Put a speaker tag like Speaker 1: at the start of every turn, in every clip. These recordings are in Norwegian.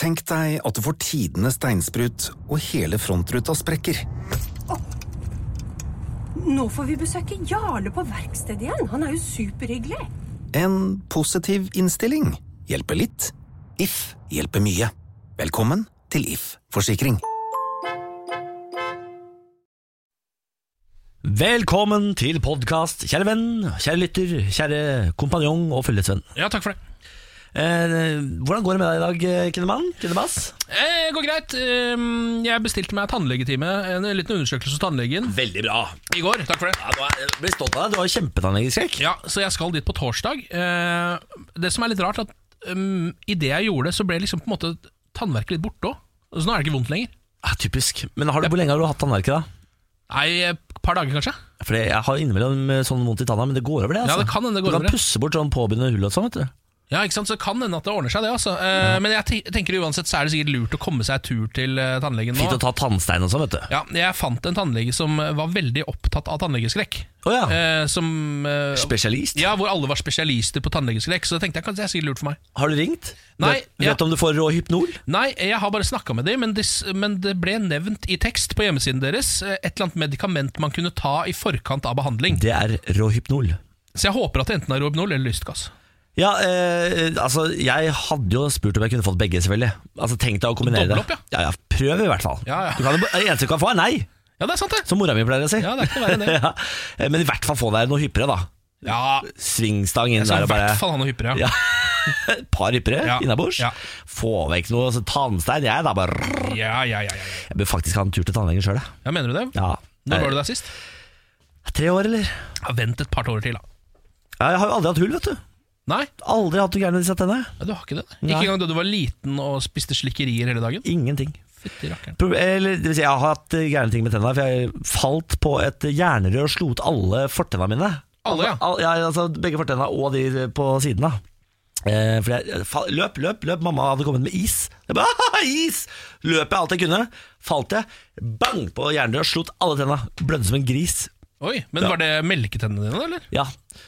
Speaker 1: Tenk deg at du får tidenes steinsprut, og hele frontruta sprekker.
Speaker 2: Nå får vi besøke Jarle på verkstedet igjen. Han er jo superhyggelig.
Speaker 1: En positiv innstilling hjelper litt. If hjelper mye. Velkommen til If forsikring.
Speaker 3: Velkommen til podkast, kjære venn, kjære lytter, kjære kompanjong og følgesvenn.
Speaker 4: Ja, takk for det.
Speaker 3: Eh, hvordan går det med deg i dag, eh, Kiddemann? Kiddebass?
Speaker 4: Eh, går greit. Ehm, Jeg bestilte meg tannlegetime, en liten undersøkelse hos tannlegen,
Speaker 3: Veldig bra.
Speaker 4: i går. Takk for det.
Speaker 3: Jeg blir stolt av deg. Du har jo kjempetannlegeskrekk.
Speaker 4: Ja, Så jeg skal dit på torsdag. Eh, Det som er litt rart, at um, idet jeg gjorde det, så ble liksom på en måte tannverket litt borte òg. Så nå er det ikke vondt
Speaker 3: Ja,
Speaker 4: lenger.
Speaker 3: Ah, typisk. Men har du, hvor lenge har du hatt tannverket, da?
Speaker 4: Nei, et par dager kanskje.
Speaker 3: Fordi jeg har innimellom eh, sånn vondt i tanna, men det går over, det.
Speaker 4: Ja,
Speaker 3: altså.
Speaker 4: det kan hende det går
Speaker 3: Du
Speaker 4: over, ja.
Speaker 3: kan pusse bort sånn påbegynnende hull og sånn, vet du.
Speaker 4: Ja, ikke sant, så Kan hende at det ordner seg, det. altså Eh, Men jeg te- tenker uansett så er det sikkert lurt å komme seg tur til eh, tannlegen nå.
Speaker 3: Fint å ta tannstein og sånn, vet du.
Speaker 4: Ja, Jeg fant en tannlege som var veldig opptatt av tannlegeskrekk.
Speaker 3: Å ja.
Speaker 4: Eh, som eh,
Speaker 3: Spesialist.
Speaker 4: Ja, hvor alle var spesialister på tannlegeskrekk. Så da tenkte jeg kanskje det er sikkert lurt for meg.
Speaker 3: Har du ringt?
Speaker 4: Nei,
Speaker 3: Vet, vet
Speaker 4: ja.
Speaker 3: om du får rå hypnol?
Speaker 4: Nei, jeg har bare snakka med dem, men, det s- men det ble nevnt i tekst på hjemmesiden deres eh, et eller annet medikament man kunne ta i forkant av behandling.
Speaker 3: Det er rå hypnol.
Speaker 4: Så jeg håper at det enten er Rohypnol eller lystgass.
Speaker 3: Ja, eh, altså Jeg hadde jo spurt om jeg kunne fått begge, selvfølgelig. Altså Tenk deg å kombinere
Speaker 4: Doble opp,
Speaker 3: det. Ja, ja, Prøv, i hvert fall.
Speaker 4: Ja, ja.
Speaker 3: Du kan, jo- det eneste du kan få, er nei,
Speaker 4: Ja, det er sant, det!
Speaker 3: som mora mi pleier å si.
Speaker 4: Ja, det er ikke verre enn det.
Speaker 3: Ja, eh, Men i hvert fall få deg noe hyppigere, da.
Speaker 4: Ja,
Speaker 3: Svingstang inn
Speaker 4: jeg sa
Speaker 3: der
Speaker 4: i
Speaker 3: og bare
Speaker 4: hvert fall han og hyppere.
Speaker 3: Ja. Et par hyppigere
Speaker 4: Ja,
Speaker 3: innabords.
Speaker 4: ja.
Speaker 3: Få vekk noe altså, tannstein. Jeg da bare
Speaker 4: Ja, ja, ja, ja.
Speaker 3: Jeg bør faktisk ha en tur til tannlegen sjøl, jeg.
Speaker 4: ja Mener du det?
Speaker 3: Ja.
Speaker 4: Når var du der sist?
Speaker 3: Tre år, eller?
Speaker 4: Ja, vent et par år til, da.
Speaker 3: Ja, jeg har jo aldri hatt hull, vet du.
Speaker 4: Nei,
Speaker 3: Aldri hatt noe gærent med disse tennene.
Speaker 4: ja, du har ikke det. nei.
Speaker 3: Nei.
Speaker 4: Ikke engang da du var liten og spiste slikkerier hele dagen?
Speaker 3: Ingenting.
Speaker 4: Fytti rakkeren.
Speaker 3: Pro- Eller, det vil si, jeg har hatt eh, gærne ting med tennene, for jeg falt på et jernrør og slo ut alle fortennene mine.
Speaker 4: Alle, ja.
Speaker 3: Al- ja altså, begge fortennene og de på siden da. Eh, fordi jeg, fa- løp, løp, løp. Mamma hadde kommet med is. Jeg bare, «Ah, is! Løp jeg alt jeg kunne. Falt jeg. Bang! På jernrør, slo ut alle tennene. Blødde som en gris.
Speaker 4: Oi, Men var det melketennene dine, eller?
Speaker 3: Ja.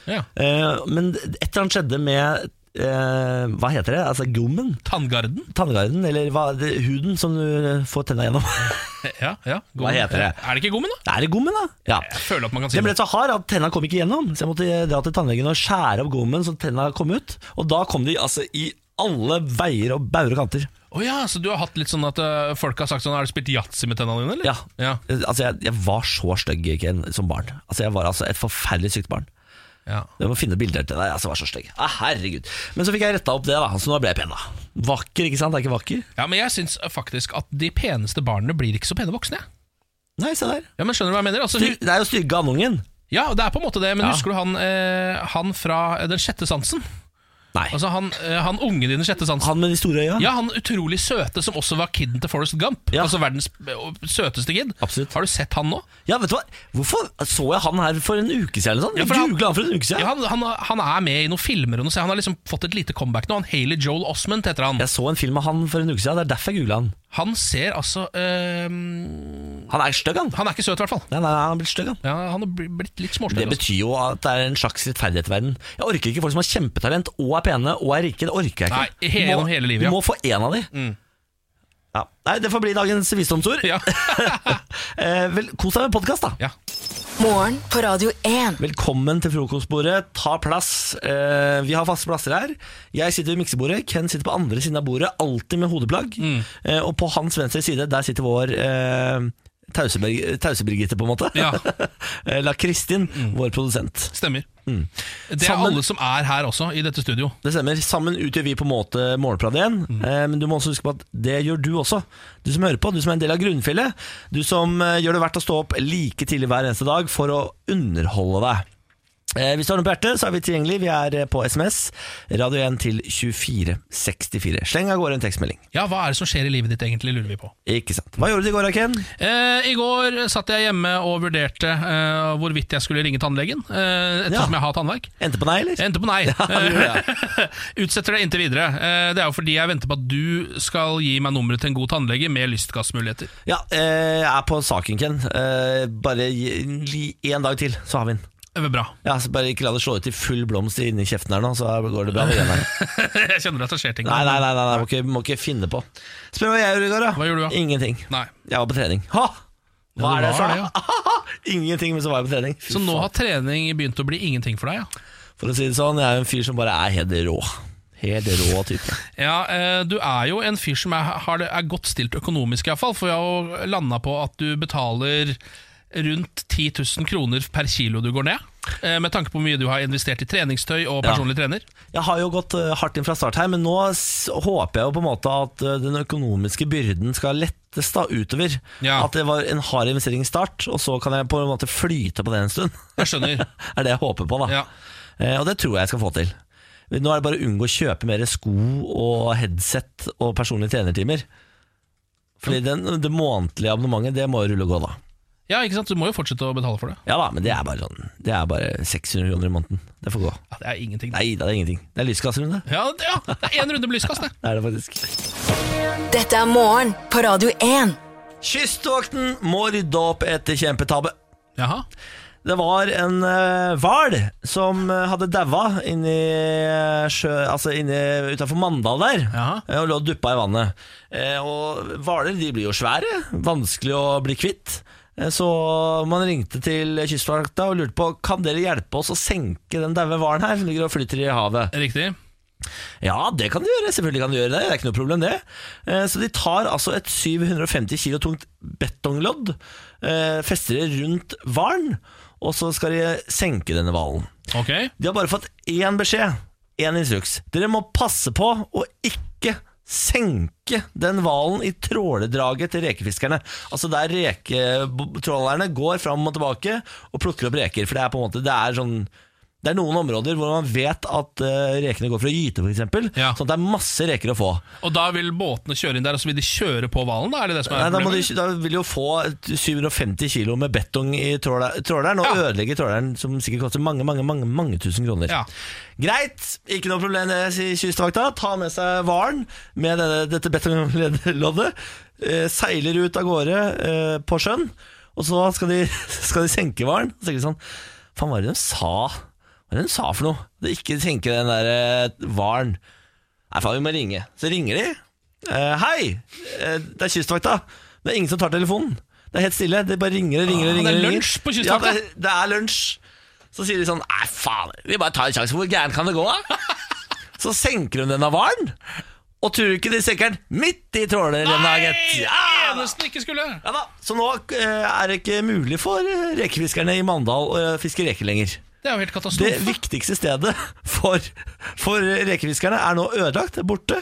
Speaker 4: Ja.
Speaker 3: Eh, men et eller annet skjedde med eh, Hva heter det? Altså gommen?
Speaker 4: Tanngarden?
Speaker 3: Tanngarden? Eller hva, det, huden som du eh, får tenna gjennom?
Speaker 4: Ja, ja.
Speaker 3: Hva heter det?
Speaker 4: Er det ikke gommen, da?
Speaker 3: er det gommen, da? Ja.
Speaker 4: Jeg føler at man kan si
Speaker 3: Den ble
Speaker 4: det.
Speaker 3: så hard at tenna kom ikke gjennom, så jeg måtte dra til tannlegen og skjære opp gommen så tenna kom ut. Og da kom de altså i alle veier og bauger og kanter.
Speaker 4: Å ja, så du har hatt litt sånn at ø, folk har sagt sånn Har du spilt yatzy med tennene dine, eller?
Speaker 3: Ja. Altså, jeg, jeg var så stygg Ken, som barn. Altså, jeg var altså et forferdelig sykt barn.
Speaker 4: Ja.
Speaker 3: Jeg må finne bilder til deg. Altså, jeg var så stygg. Ah, herregud. Men så fikk jeg retta opp det, da. Så nå ble jeg pen, da. Vakker, ikke sant? Er jeg ikke vakker?
Speaker 4: ja, men jeg syns faktisk at de peneste barna blir ikke så pene voksne, jeg.
Speaker 3: Nei, se der.
Speaker 4: Ja, men skjønner du hva jeg mener? Altså,
Speaker 3: Ty-
Speaker 4: hu-
Speaker 3: Det er jo stygge andungen.
Speaker 4: ja, det er på en måte det, men
Speaker 3: Ja.
Speaker 4: husker du han, ø, han fra ø, Den sjette sansen?
Speaker 3: Nei.
Speaker 4: Altså han, ø, han ungen i Den sjette sansen.
Speaker 3: Han med de store øya?
Speaker 4: Ja, han utrolig søte som også var kiden til Forrest Gump.
Speaker 3: Ja.
Speaker 4: Altså verdens ø, søteste kid.
Speaker 3: Absolutt.
Speaker 4: Har du sett han nå?
Speaker 3: Ja, vet du hva? Hvorfor så jeg han her for en uke siden? Eller sånn?
Speaker 4: Ja,
Speaker 3: Jeg
Speaker 4: for han-
Speaker 3: googlet han for en uke siden.
Speaker 4: Ja, han, han, han er med i noen filmer, og noe, så han har liksom fått et lite comeback nå. Han Haley Joel Osment heter han.
Speaker 3: Jeg så en film av han for en uke siden, det er derfor jeg googla han.
Speaker 4: Han ser altså øhm,
Speaker 3: Han er stygg, han.
Speaker 4: Han er ikke søt, i hvert fall.
Speaker 3: Nei, nei, han er blitt stygg, han.
Speaker 4: Ja, han har bl- blitt litt
Speaker 3: Det
Speaker 4: småstygg. altså.
Speaker 3: betyr jo at det er en slags rettferdighet i verden. Jeg orker ikke folk som har kjempetalent og er pene og er rike. Det orker jeg ikke.
Speaker 4: Nei, he-
Speaker 3: Du må-
Speaker 4: gjennom hele livet, ja.
Speaker 3: Du
Speaker 4: Mm.
Speaker 3: må få én av de. Ja. Nei, det får bli dagens visdomsord.
Speaker 4: Ja.
Speaker 3: Eh, vel, kos deg med podkast, da.
Speaker 4: ja.
Speaker 5: Morgen på Radio 1.
Speaker 3: Velkommen til frokostbordet. Ta plass. Eh, vi har faste plasser her. Jeg sitter ved miksebordet. Ken sitter på andre siden av bordet, alltid med hodeplagg. Eh, og på hans venstre side, der sitter vår eh, Tause-Birgitte, på en måte.
Speaker 4: Ja.
Speaker 3: Eller Kristin, vår produsent.
Speaker 4: Stemmer. Det er
Speaker 3: Mm. Sammen-
Speaker 4: alle som er her også, i dette studio.
Speaker 3: Det stemmer. Sammen utgjør vi på en måte Morgenpradet igjen. Eh, men du må også huske på at det gjør du også. Du som hører på, du som er en del av grunnfjellet. Du som eh, gjør det verdt å stå opp like tidlig hver eneste dag for å underholde deg. Eh, Hvis du har noe på hjertet, så er vi tilgjengelig. Vi er eh, på SMS, radio 1 til 2464. Sleng av gårde en tekstmelding.
Speaker 4: Ja, Hva er det som skjer i livet ditt, egentlig, lurer vi på.
Speaker 3: Ikke sant. Hva gjorde du i går, Ken?
Speaker 4: Eh, I går satt jeg hjemme og vurderte eh, hvorvidt jeg skulle ringe tannlegen, eh,
Speaker 3: Ja.
Speaker 4: ettersom jeg har tannverk.
Speaker 3: Endte på nei, eller?
Speaker 4: Jeg endte på nei.
Speaker 3: det gjorde
Speaker 4: Utsetter det inntil videre. Eh, det er jo fordi jeg venter på at du skal gi meg nummeret til en god tannlege med lystgassmuligheter.
Speaker 3: Ja, eh, jeg er på saken, Ken. Eh, Bare gi- gi én dag til, så har vi den.
Speaker 4: Det var bra.
Speaker 3: Ja, så Bare ikke la det slå ut i full blomst inni kjeften her nå, så går det bra. med greiene her.
Speaker 4: jeg kjenner at det skjer ting.
Speaker 3: Nei, nei, nei, nei, nei må, ikke, må ikke finne på. Spør meg hva jeg gjorde i går, da.
Speaker 4: Hva gjorde du, da?
Speaker 3: Ingenting.
Speaker 4: Nei.
Speaker 3: Jeg var på trening. Ha! Hva
Speaker 4: Ja,
Speaker 3: er
Speaker 4: det
Speaker 3: det jeg
Speaker 4: var
Speaker 3: sa? Ingenting, men så var jeg på trening. Fy
Speaker 4: Så nå
Speaker 3: faen.
Speaker 4: har trening begynt å bli ingenting for deg, ja?
Speaker 3: For å si det sånn, jeg er jo en fyr som bare er helt rå. Helt rå type.
Speaker 4: Ja, eh, Du er jo en fyr som er, har det, er godt stilt økonomisk, iallfall. For jeg har jo landa på at du betaler rundt 10 000 kroner per kilo du går ned. eh, Med tanke på hvor mye du har investert i treningstøy og
Speaker 3: Ja.
Speaker 4: personlig trener.
Speaker 3: Jeg har jo gått eh, hardt inn fra start her, men nå s- håper jeg jo på en måte at eh, den økonomiske byrden skal lettes da utover.
Speaker 4: Ja.
Speaker 3: At det var en hard investering i start, og så kan jeg på en måte flyte på det en stund.
Speaker 4: Jeg skjønner.
Speaker 3: er det jeg håper på, da.
Speaker 4: Ja.
Speaker 3: Eh, og det tror jeg jeg skal få til. Nå er det bare å unngå å kjøpe mer sko og headset og personlige trenertimer. Fordi den, det månedlige abonnementet, det må jo rulle og gå, da.
Speaker 4: ja, ikke sant? Du må jo fortsette å betale for det.
Speaker 3: Ja da, men det er bare sånn Det er bare 600 kroner i måneden. Det får gå.
Speaker 4: Ja, det er ingenting.
Speaker 3: Nei da, det er ingenting. Det er lyskassrunde.
Speaker 4: Ja, det- ja, det er én runde med lyskass, det.
Speaker 3: Det er det faktisk.
Speaker 5: Dette er morgen på Radio 1.
Speaker 3: Kystvakten må rydde opp etter kjempetabbe.
Speaker 4: Jaha.
Speaker 3: Det var en eh, hval som eh, hadde daua inni eh, sjø... Altså inni utafor Mandal der.
Speaker 4: Jaha.
Speaker 3: eh, Og lå og duppa i vannet. Eh, og hvaler de blir jo svære. Vanskelig å bli kvitt. Eh, Så man ringte til Kystvakta og lurte på Kan dere hjelpe oss å senke den daue hvalen her som ligger og flyter i havet.
Speaker 4: Riktig.
Speaker 3: Ja, det kan de gjøre. Selvfølgelig kan de gjøre det. Det er ikke noe problem, det. Eh, Så de tar altså et 750 kilo tungt betonglodd, eh, fester det rundt hvalen, og så skal de senke denne hvalen.
Speaker 4: Ok.
Speaker 3: De har bare fått én beskjed, én instruks. Dere må passe på å ikke senke den hvalen i tråledraget til rekefiskerne. Altså der reketrålerne går fram og tilbake og plukker opp reker. For det er på en måte Det er sånn det er noen områder hvor man vet at eh, rekene går for å gyte, f.eks.
Speaker 4: Ja.
Speaker 3: Sånn at det er masse reker å få.
Speaker 4: Og da vil båtene kjøre inn der, og så vil de kjøre på hvalen? Da er det det som er
Speaker 3: Nei, da, må du,
Speaker 4: problemet?
Speaker 3: da vil du jo få et 750 kilo med betong i tråler- tråleren, og
Speaker 4: Ja.
Speaker 3: ødelegge tråleren, som sikkert koster mange mange, mange, mange tusen kroner.
Speaker 4: Ja.
Speaker 3: Greit, ikke noe problem, det, sier Kystvakta. Ta med seg hvalen med denne, dette betongloddet. Eh, seiler ut av gårde eh, på sjøen, og så skal de, skal de senke hvalen. Så tenker de sånn Faen, hva er det de sa? Hva er det de sa for noe? Det er ikke senke den der eh, hvalen. Nei, faen, vi må ringe. Så ringer de. Eh, hei, eh, det er Kystvakta. Det er ingen som tar telefonen. Det er helt stille. Det bare ringer og ringer. og
Speaker 4: Ah, det
Speaker 3: ringer
Speaker 4: er
Speaker 3: og ringer.
Speaker 4: lunsj på Kystvakta.
Speaker 3: Ja, det, er- det er lunsj. Så sier de sånn Nei, faen, vi bare tar en sjanse. Hvor gæren kan det gå? da? Så senker hun denne hvalen. Og tror du ikke de senker den midt i trålerrenna, gitt. Ja! da.
Speaker 4: Eneste den ikke skulle!
Speaker 3: Ah! Ja da. Så nå eh, er det ikke mulig for eh, rekefiskerne i Mandal å eh, fiske reker lenger.
Speaker 4: Det er jo helt
Speaker 3: Det
Speaker 4: katastrofe.
Speaker 3: viktigste stedet for, for rekefiskerne er nå ødelagt, borte.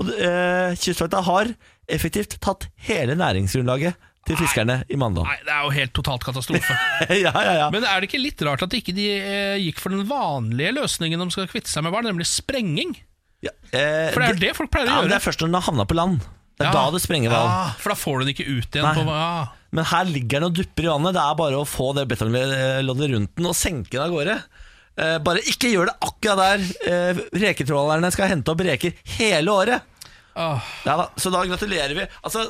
Speaker 3: Og eh, Kystvakta har effektivt tatt hele næringsgrunnlaget til fiskerne i Mandal.
Speaker 4: Nei, det er jo helt totalt katastrofe.
Speaker 3: ja, ja, ja.
Speaker 4: Men er det ikke litt rart at ikke de eh, gikk for den vanlige løsningen de skal kvitte seg med hval, nemlig sprenging?
Speaker 3: ja eh,
Speaker 4: For det er jo det folk pleier
Speaker 3: ja,
Speaker 4: å
Speaker 3: men det
Speaker 4: gjøre.
Speaker 3: er først når den har havna på land. Det er
Speaker 4: Ja.
Speaker 3: da det sprenger hvalen.
Speaker 4: Ja, for da får du den ikke ut igjen.
Speaker 3: Nei.
Speaker 4: På, ja.
Speaker 3: Men her ligger den og dupper i vannet. Det er bare å få det betongloddet rundt den og senke den av gårde. Eh, bare ikke gjør det akkurat der eh, reketrålerne skal hente opp reker hele året.
Speaker 4: Åh.
Speaker 3: Ja da, så da gratulerer vi. Altså,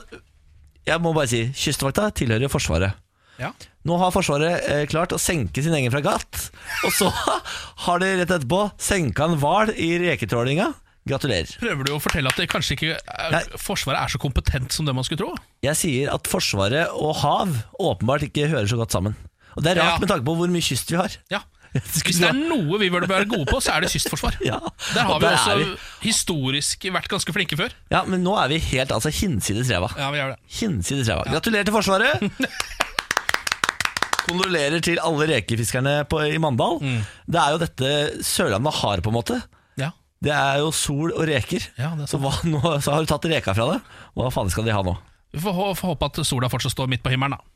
Speaker 3: jeg må bare si, Kystvakta tilhører jo Forsvaret.
Speaker 4: Ja.
Speaker 3: Nå har Forsvaret eh, klart å senke sin egen fregatt, og så har de rett etterpå senka en hval i reketrålinga. Gratulerer.
Speaker 4: Prøver du å fortelle at det kanskje ikke er,
Speaker 3: Nei.
Speaker 4: Forsvaret er så kompetent som det man skulle tro?
Speaker 3: Jeg sier at Forsvaret og hav åpenbart ikke hører så godt sammen. Og det er rart
Speaker 4: Ja.
Speaker 3: med tanke på hvor mye kyst vi har.
Speaker 4: Ja.
Speaker 3: Skulle
Speaker 4: Hvis
Speaker 3: du
Speaker 4: det
Speaker 3: ha-
Speaker 4: er noe vi burde være gode på, så er det kystforsvar.
Speaker 3: Ja,
Speaker 4: Der har
Speaker 3: og
Speaker 4: vi
Speaker 3: der
Speaker 4: også
Speaker 3: er
Speaker 4: historisk vært ganske flinke før.
Speaker 3: Ja, men nå er vi helt altså hinsides ræva.
Speaker 4: Ja, vi gjør det.
Speaker 3: Hinsides ræva. Gratulerer til Forsvaret! Kondolerer til alle rekefiskerne på, i Mandal.
Speaker 4: Mm.
Speaker 3: Det er jo dette Sørlandet har, på en måte.
Speaker 4: Ja.
Speaker 3: Det er jo sol og reker.
Speaker 4: Ja, det er
Speaker 3: så, hva, nå, så har du tatt reka fra det. Hva faen skal de ha nå?
Speaker 4: Vi får, hå- får håpe at sola fortsatt står midt på himmelen, da.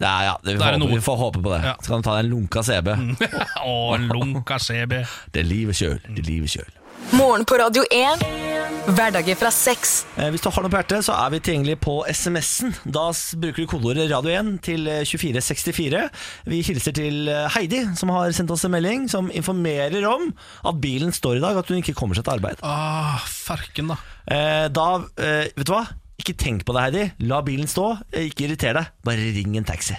Speaker 3: Det er, ja, det, vi,
Speaker 4: Da
Speaker 3: får
Speaker 4: er det
Speaker 3: håpe,
Speaker 4: noe.
Speaker 3: vi får håpe på det.
Speaker 4: Ja. Mm.
Speaker 3: Så kan du ta deg en lunka CB.
Speaker 4: Å, lunka CB.
Speaker 3: Det er livet sjøl. Det er livet sjøl.
Speaker 5: Morgen på Radio 1. Hverdager fra seks.
Speaker 3: Eh, Hvis du har noe på hjertet, så er vi tilgjengelig på SMS-en. Da s- bruker du kodeordet Radio 1 til eh, 2464. Vi hilser til eh, Heidi, som har sendt oss en melding som informerer om at bilen står i dag, at hun ikke kommer seg til arbeid.
Speaker 4: Ah, farken, da.
Speaker 3: Eh, Da, eh, vet du hva? Ikke tenk på det, Heidi. La bilen stå. Eh, Ikke irriter deg. Bare ring en taxi.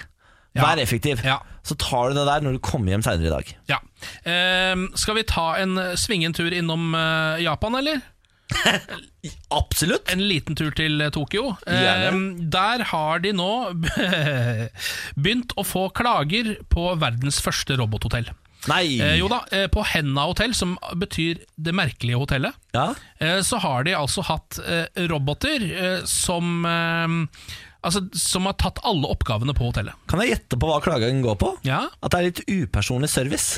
Speaker 4: Ja.
Speaker 3: Vær effektiv.
Speaker 4: Ja.
Speaker 3: Så tar du det der når du kommer hjem seinere i dag.
Speaker 4: Ja. Ehm, skal vi ta en eh, svinge en tur innom eh, Japan, eller?
Speaker 3: Absolutt.
Speaker 4: En liten tur til eh, Tokyo.
Speaker 3: Gjerne.
Speaker 4: Ehm, der har de nå begynt å få klager på verdens første robothotell.
Speaker 3: Nei.
Speaker 4: Eh, jo da, eh, på Henna hotell, som betyr det merkelige hotellet,
Speaker 3: Ja.
Speaker 4: eh, så har de altså hatt eh, roboter eh, som eh, Altså, som har tatt alle oppgavene på hotellet.
Speaker 3: Kan jeg gjette på hva klagen går på?
Speaker 4: Ja.
Speaker 3: At det er litt upersonlig service.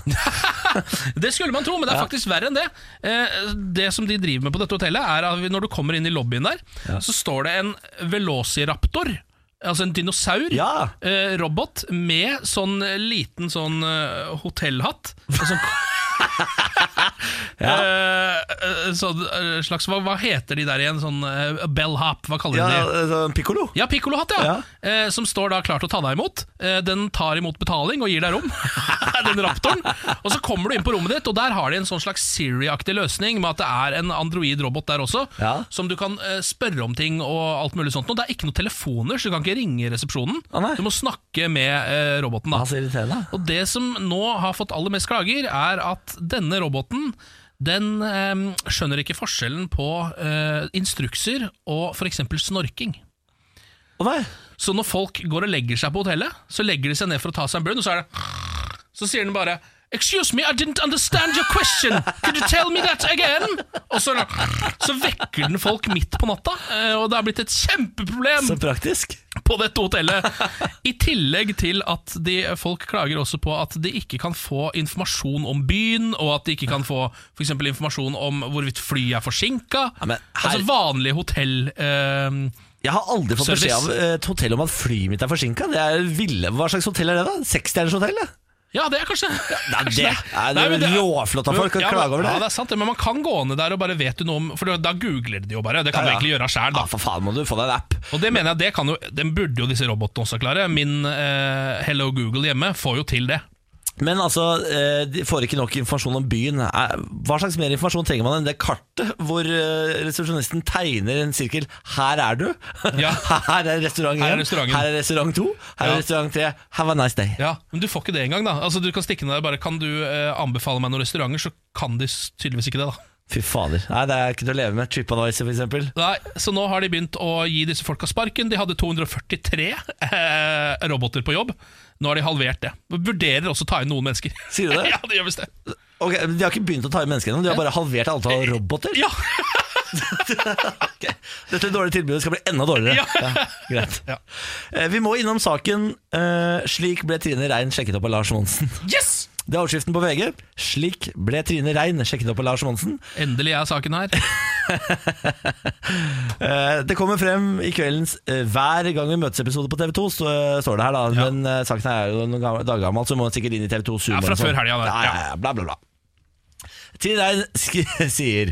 Speaker 4: Det skulle man tro, men det er faktisk verre enn det. Eh, Det som de driver med på dette hotellet, er at når du kommer inn i lobbyen der, så står det en velociraptor, altså en dinosaur,
Speaker 3: Ja.
Speaker 4: eh, robot, med sånn liten sånn eh, hotellhatt. og Sånn, Eh, eh, sånn eh, slags hva, hva heter de der igjen? Sånn eh, bellhop, hva kaller
Speaker 3: Ja,
Speaker 4: de det?
Speaker 3: altså, Piccolo.
Speaker 4: Ja, pikkolohatt, ja. Eh, som står da klar til å ta deg imot. Eh, den tar imot betaling og gir deg rom. den raptoren. Og så kommer du inn på rommet ditt, og der har de en sånn slags Siri-aktig løsning med at det er en android-robot der også,
Speaker 3: Ja.
Speaker 4: som du kan eh, spørre om ting og alt mulig sånt. Og det er ikke noen telefoner, så du kan ikke ringe resepsjonen.
Speaker 3: Å, nei.
Speaker 4: du må snakke med eh, roboten, da.
Speaker 3: Ah, så irriterende.
Speaker 4: Og det som nå har fått aller mest klager, er at denne roboten den eh, skjønner ikke forskjellen på eh, instrukser og f.eks. snorking.
Speaker 3: Å nei.
Speaker 4: Så når folk går og legger seg på hotellet, så legger de seg ned for å ta seg en brun, og så er det Så sier den bare Excuse me, I didn't understand your question. Could you tell me that again? Og så, er det- så vekker den folk midt på natta, eh, og det har blitt et
Speaker 3: Så
Speaker 4: kjempeproblem
Speaker 3: praktisk.
Speaker 4: på dette hotellet. I tillegg til at de, folk klager også på at de ikke kan få informasjon om byen, og at de ikke kan få for eksempel informasjon om hvorvidt flyet er forsinka.
Speaker 3: Ja, men her-
Speaker 4: Altså vanlig hotell... Eh,
Speaker 3: Jeg har aldri fått beskjed av
Speaker 4: Service.
Speaker 3: eh, et hotell om at flyet mitt er forsinka. Det er ville. Hva slags hotell er det, da? Sekstjerners hotell? det?
Speaker 4: Ja, det er kanskje
Speaker 3: Nei,
Speaker 4: kanskje
Speaker 3: det er
Speaker 4: Nei, men det-
Speaker 3: råflott av folk å
Speaker 4: Ja, men-
Speaker 3: klage over
Speaker 4: Ja,
Speaker 3: det.
Speaker 4: det er sant, det, men man kan gå ned der og bare vet du noe om For da- da googler de jo bare. Det kan
Speaker 3: Ja, ja.
Speaker 4: du egentlig gjøre sjæl,
Speaker 3: Ja,
Speaker 4: da.
Speaker 3: for faen, må du få deg en app.
Speaker 4: Og det mener jeg, det kan jo Den burde jo disse robotene også klare. Min eh, Hello Google hjemme får jo til det.
Speaker 3: Men altså, eh, de får ikke nok informasjon om byen. Eh, Hva slags mer informasjon trenger man enn det kartet hvor eh, resepsjonisten tegner en sirkel? Her er du,
Speaker 4: Ja.
Speaker 3: her er restaurant
Speaker 4: Her er
Speaker 3: 1,
Speaker 4: restauranten.
Speaker 3: her er restaurant 2, her
Speaker 4: Ja.
Speaker 3: er restaurant 3. Have a nice day.
Speaker 4: Ja, Men du får ikke det engang, da. Altså, du kan stikke ned der bare Kan du eh, anbefale meg noen restauranter, så kan de s- tydeligvis ikke det, da.
Speaker 3: Fy fader. Nei, det er ikke til å leve med. TripAdvisor, for eksempel.
Speaker 4: Nei, Så nå har de begynt å gi disse folka sparken. De hadde 243 eh, roboter på jobb. Nå har de halvert det. Vurderer også å ta inn noen mennesker.
Speaker 3: Sier du det?
Speaker 4: ja, det gjør visst det.
Speaker 3: Ok, men De har ikke begynt å ta inn mennesker ennå, de har bare halvert
Speaker 4: Eh,
Speaker 3: antall roboter.
Speaker 4: Ja,
Speaker 3: Ok. Dette dårlige tilbudet skal bli enda dårligere. Ja, greit.
Speaker 4: Ja.
Speaker 3: Eh, Vi må innom saken eh, 'Slik ble Trine Rein sjekket opp av Lars Monsen'.
Speaker 4: yes!
Speaker 3: Det er overskriften på VG. 'Slik ble Trine Rein sjekket opp av Lars Monsen'.
Speaker 4: Endelig er saken her.
Speaker 3: Eh, Det kommer frem i kveldens eh, Hver gang vi møtes episode på TV 2, så, eh, står det her, da.
Speaker 4: Ja.
Speaker 3: Men eh, saken er jo noen ga- dager gammel, så må den sikkert inn i TV 2 Sumo.
Speaker 4: Ja, fra
Speaker 3: eller sånn.
Speaker 4: før helga, da.
Speaker 3: Ja, ja, ja, bla, bla, bla. Trine Rein sk- sier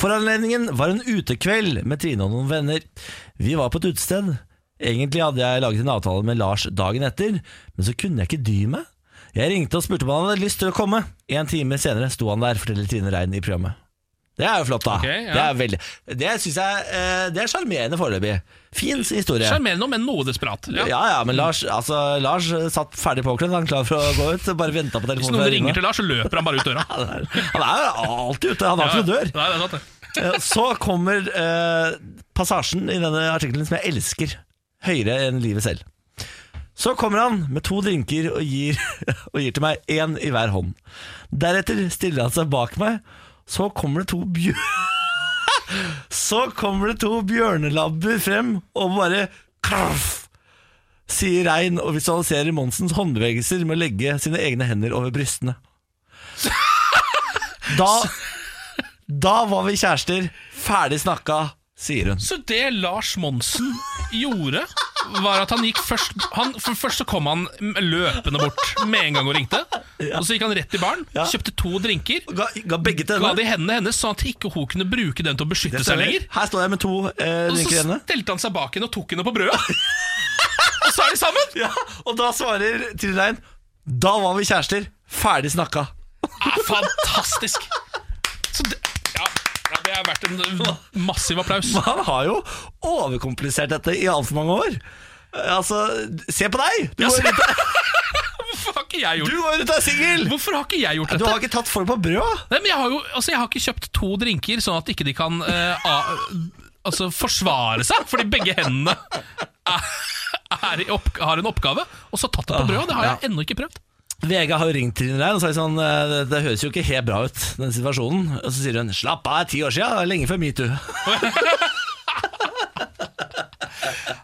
Speaker 3: Foranledningen var en utekveld med Trine og noen venner. Vi var på et utested. Egentlig hadde jeg laget en avtale med Lars dagen etter, men så kunne jeg ikke dy meg. Jeg ringte og spurte om han hadde lyst til å komme. En time senere sto han der, forteller Trine Rein i programmet. Det er jo flott, da.
Speaker 4: Ok, ja.
Speaker 3: Det er veldig Det synes jeg eh, Det er sjarmerende foreløpig. Fin historie.
Speaker 4: Sjarmerende, men noe desperat.
Speaker 3: Ja. ja, men Lars, altså, Lars eh, satt ferdig påkledd, han klar for å gå ut. Bare venta på
Speaker 4: Hvis
Speaker 3: telefonen.
Speaker 4: noen
Speaker 3: fra
Speaker 4: ringer
Speaker 3: Rina.
Speaker 4: til Lars, så løper han bare ut døra.
Speaker 3: Han er- han er jo alltid ute, han har ikke noen dør.
Speaker 4: Nei, det er sant, det.
Speaker 3: Eh, Så kommer eh, passasjen i denne artikkelen som jeg elsker, høyere enn livet selv. Så kommer han med to drinker og gir, og gir til meg én i hver hånd. Deretter stiller han seg bak meg. Så kommer det to bjør... Så kommer det to bjørnelabber frem og bare kraff, sier Rein og visualiserer Monsens håndbevegelser med å legge sine egne hender over brystene. Da da var vi kjærester. Ferdig snakka, sier hun.
Speaker 4: Så det Lars Monsen gjorde, var at han gikk først han, For først så kom han løpende bort med en gang og ringte. Og så gikk han rett i baren,
Speaker 3: Ja.
Speaker 4: kjøpte to drinker,
Speaker 3: Ga, ga begge til
Speaker 4: la
Speaker 3: henne.
Speaker 4: det i hendene hennes, sånn at ikke hun kunne bruke den til å beskytte seg lenger.
Speaker 3: Her står jeg med to eh,
Speaker 4: Og så
Speaker 3: drinker i henne.
Speaker 4: stelte han seg bak henne og tok henne på brødet. Og så er de sammen!
Speaker 3: Ja, og da svarer Trine Rein Da var vi kjærester. Ferdig snakka.
Speaker 4: er Ah, fantastisk. Så det, ja, ja, det er verdt en massiv applaus.
Speaker 3: Han har jo overkomplisert dette i altfor mange år. Altså, se på deg! Du
Speaker 4: Ja,
Speaker 3: går
Speaker 4: se-
Speaker 3: rundt og-
Speaker 4: Hvorfor har ikke jeg
Speaker 3: du
Speaker 4: gjort
Speaker 3: går rundt og er singel!
Speaker 4: Hvorfor har ikke jeg gjort
Speaker 3: Du
Speaker 4: dette?
Speaker 3: har ikke tatt folk på brød?
Speaker 4: Nei, men jeg har jo altså, jeg har ikke kjøpt to drinker sånn at ikke de kan eh, a, altså, forsvare seg, fordi begge hendene er, er i opp, har en oppgave. Og så tatt det på brødet. Det har jeg ennå ikke prøvd.
Speaker 3: VG har jo ringt Trine Rein og sagt sånn eh, Det, det høres jo ikke helt bra ut, den situasjonen. Og så sier hun 'slapp av, ti år siden', lenge før metoo.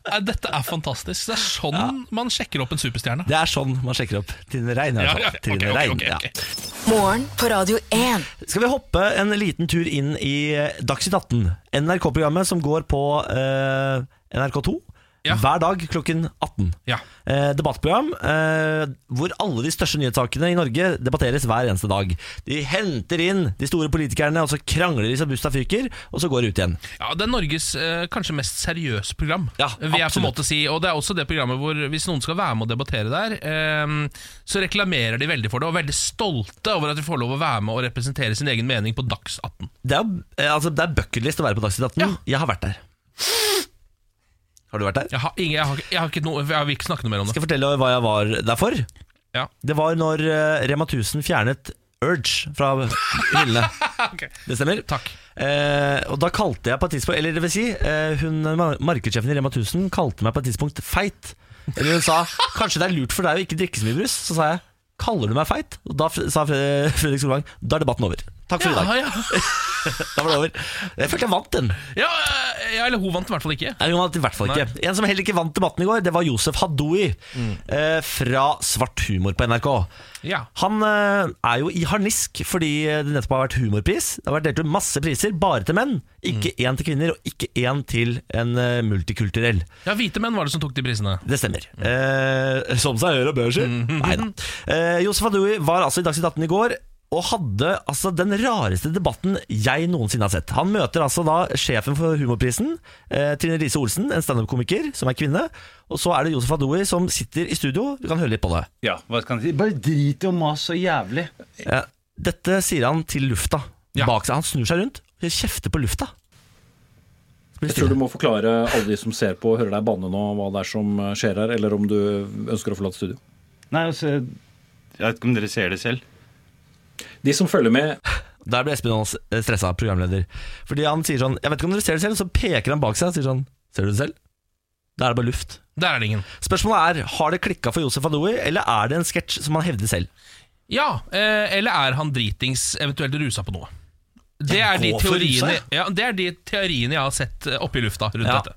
Speaker 4: Nei, Dette er fantastisk. Det er sånn man sjekker opp en superstjerne.
Speaker 3: Det er sånn man sjekker opp Trine Rein. i hvert
Speaker 4: Ja,
Speaker 3: fall.
Speaker 4: ja, ok,
Speaker 3: Trine
Speaker 4: ok,
Speaker 3: Rein,
Speaker 4: ok,
Speaker 3: ja.
Speaker 4: ok.
Speaker 5: Morgen på Radio 1.
Speaker 3: Skal vi hoppe en liten tur inn i Dagsnytt 18, NRK-programmet som går på eh, NRK2
Speaker 4: Ja.
Speaker 3: hver dag klokken 18.
Speaker 4: Ja.
Speaker 3: Eh, debattprogram eh, hvor alle de største nyhetssakene i Norge debatteres hver eneste dag. De henter inn de store politikerne, og så krangler de så busta fyker, og så går de ut igjen.
Speaker 4: Ja, Det er Norges eh, kanskje mest seriøse program.
Speaker 3: Ja,
Speaker 4: vil jeg på en
Speaker 3: absolutt.
Speaker 4: måte si Og det er også det programmet hvor hvis noen skal være med og debattere der, eh, så reklamerer de veldig for det, og er veldig stolte over at de får lov å være med og representere sin egen mening på Dags 18.
Speaker 3: Det er, jo- eh, altså, det er bucketlist å være på Dagsnytt 18.
Speaker 4: Ja.
Speaker 3: Jeg har vært der. Har du vært der?
Speaker 4: Jeg har, ingen, jeg har, ikke- jeg har ikke noe, jeg vil ikke snakke noe mer om det.
Speaker 3: Skal jeg fortelle hva jeg var der for?
Speaker 4: Ja.
Speaker 3: Det var når eh, Rema 1000 fjernet Urge fra hyllene. Det stemmer.
Speaker 4: Takk.
Speaker 3: Eh, og da kalte jeg på et tidspunkt Eller det vil si, eh, hun, mar- markedssjefen i Rema 1000 kalte meg på et tidspunkt feit. Eller hun sa kanskje det er lurt for deg å ikke drikke så mye brus. Så sa jeg kaller du meg feit? Og da f- sa Fre- Fredrik Solvang da er debatten over. Takk for i dag.
Speaker 4: Ja, ja.
Speaker 3: Da var det over. Jeg følte jeg vant den.
Speaker 4: Ja, eh, ja, eller hun vant i hvert fall ikke.
Speaker 3: Nei, hun vant i hvert fall ikke. En som heller ikke vant debatten i går, det var Josef Hadoui eh, fra Svart humor på NRK.
Speaker 4: Mm. Ja.
Speaker 3: Han eh, er jo i harnisk fordi det nettopp har vært humorpris. Det har vært delt ut masse priser, bare til menn. Ikke
Speaker 4: Mm.
Speaker 3: én til kvinner, og ikke én til en eh, multikulturell.
Speaker 4: ja, Hvite menn var det som tok de prisene.
Speaker 3: Det stemmer. Eh, som seg hører og bør, si. Nei da. Eh, Josef Adoui var altså i Dagsnytt 18 i går. Og hadde altså den rareste debatten jeg noensinne har sett. Han møter altså da sjefen for Humorprisen, eh, Trine Lise Olsen, en standup-komiker som er kvinne. Og så er det Josef Adoui som sitter i studio. Vi kan høre litt på det.
Speaker 6: Ja, hva kan jeg si? Bare drit i å mase så jævlig.
Speaker 3: Ja. Dette sier han til lufta
Speaker 4: Ja.
Speaker 3: bak seg. Han snur seg rundt og kjefter på lufta. Så blir det
Speaker 7: Jeg tror du
Speaker 3: stille.
Speaker 7: må forklare alle de som ser på og hører deg banne nå, hva det er som eh, skjer her, eller om du ønsker å forlate studio.
Speaker 6: Nei, altså, jeg vet ikke om dere ser det selv.
Speaker 7: De som følger med,
Speaker 3: Der ble Espen Aas stressa, programleder. Fordi han sier sånn Jeg vet ikke om dere ser det selv, så peker han bak seg og sier sånn Ser du det selv? Da er det bare luft.
Speaker 4: Der er det ingen.
Speaker 3: Spørsmålet er har det klikka for Josef Adoui, eller er det en sketsj som han hevder selv?
Speaker 4: Ja, eh, eller er han dritings, eventuelt rusa på noe? Det er, de
Speaker 3: Gå for
Speaker 4: teoriene,
Speaker 3: rusa,
Speaker 4: ja, det er de teoriene jeg har sett eh, oppe i lufta rundt
Speaker 3: Ja.
Speaker 4: dette.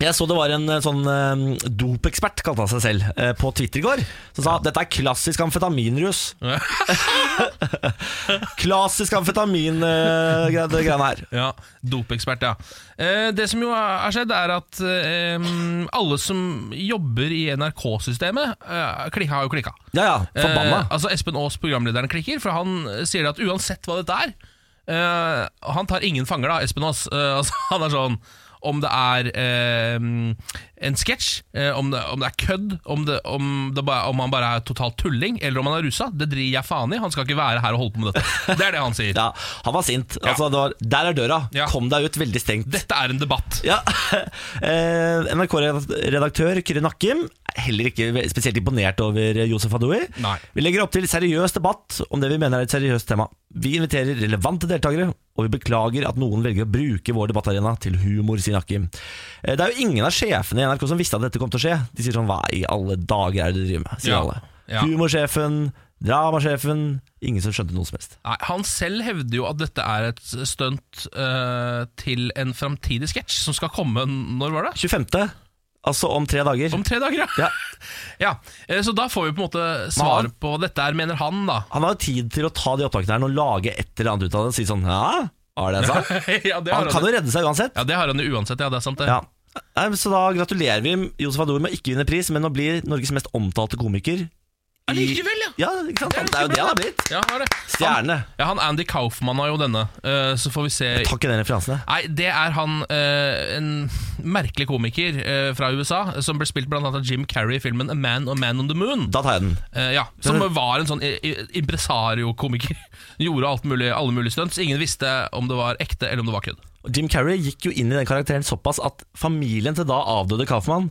Speaker 3: Jeg så det var en eh, sånn eh, dopekspert, kalte han seg selv, eh, på Twitter i går. Som sa dette er klassisk amfetaminrus. klassisk eh, amfetamin-greiene her.
Speaker 4: Ja, Dopekspert, ja. Eh, det som jo har skjedd, er at eh, em, alle som jobber i NRK-systemet, eh, klik- har jo klikka.
Speaker 3: Ja ja, forbanna.
Speaker 4: Eh, altså Espen Aas, programlederen, klikker, for han eh, sier at uansett hva dette er eh, Han tar ingen fanger, da, Espen Aas. Eh, altså, han er sånn om det er eh, en sketsj, eh, om, det- om det er kødd, om, det, om, det bare, om han bare er totalt tulling, eller om han er rusa, det driter jeg faen i. Han skal ikke være her og holde på med dette. Det er det han sier.
Speaker 3: Ja, han var sint. Altså, det var, der er døra.
Speaker 4: Ja.
Speaker 3: Kom deg ut. Veldig stengt.
Speaker 4: Dette er en debatt.
Speaker 3: Ja. Eh, NRK-redaktør Kyrre Nakkim heller ikke ve- spesielt imponert over Josef Adoui.
Speaker 4: Nei.
Speaker 3: Vi legger opp til seriøs debatt om det vi mener er et seriøst tema. Vi inviterer relevante deltakere, og vi beklager at noen velger å bruke vår debattarena til humor, sier Nakkim. Eh, det er jo ingen av sjefene i NRK som visste at dette kom til å skje. De sier sånn Hva i alle dager er det dere driver med? sier
Speaker 4: Ja.
Speaker 3: alle.
Speaker 4: Ja.
Speaker 3: Humorsjefen, dramasjefen Ingen som skjønte noe som helst.
Speaker 4: Nei, han selv hevder jo at dette er et stunt eh, til en framtidig sketsj som skal komme Når var det?
Speaker 3: 25., altså om tre dager.
Speaker 4: Om tre dager, ja.
Speaker 3: ja.
Speaker 4: Ja, eh, så da får vi på en måte
Speaker 3: Men
Speaker 4: svar
Speaker 3: han-
Speaker 4: på dette her, mener han da.
Speaker 3: Han har jo tid til å ta de opptakene her og lage et eller annet ut av det og si sånn Ja, var det jeg sa?
Speaker 4: ja, det har
Speaker 3: Han kan
Speaker 4: han,
Speaker 3: jo redde seg uansett.
Speaker 4: ja, det har han jo uansett, ja, det er sant det.
Speaker 3: Ja. Nei, men Så da gratulerer vi Josef Adour med å ikke vinne pris, men å bli Norges mest omtalte komiker. i-
Speaker 4: Allikevel, ja.
Speaker 3: Ja, ikke sant? Det er jo det han har blitt.
Speaker 4: Ja, han har det. Han,
Speaker 3: Stjerne.
Speaker 4: ja, han Andy Kaufman har jo denne, eh, så får vi se.
Speaker 3: Takk ikke den referansen. jeg.
Speaker 4: Nei, det er han, eh, en merkelig komiker eh, fra USA, som ble spilt blant annet av Jim Carrey i filmen A Man og Man on the Moon.
Speaker 3: Da tar jeg den.
Speaker 4: Eh, ja, Som var en sånn i- i- impresario-komiker. Gjorde alt mulig, alle mulige stunts. Ingen visste om det var ekte eller om det var kødd. Mm.
Speaker 3: Og Jim Carrey gikk jo inn i den karakteren såpass at familien til da avdøde Kaufmann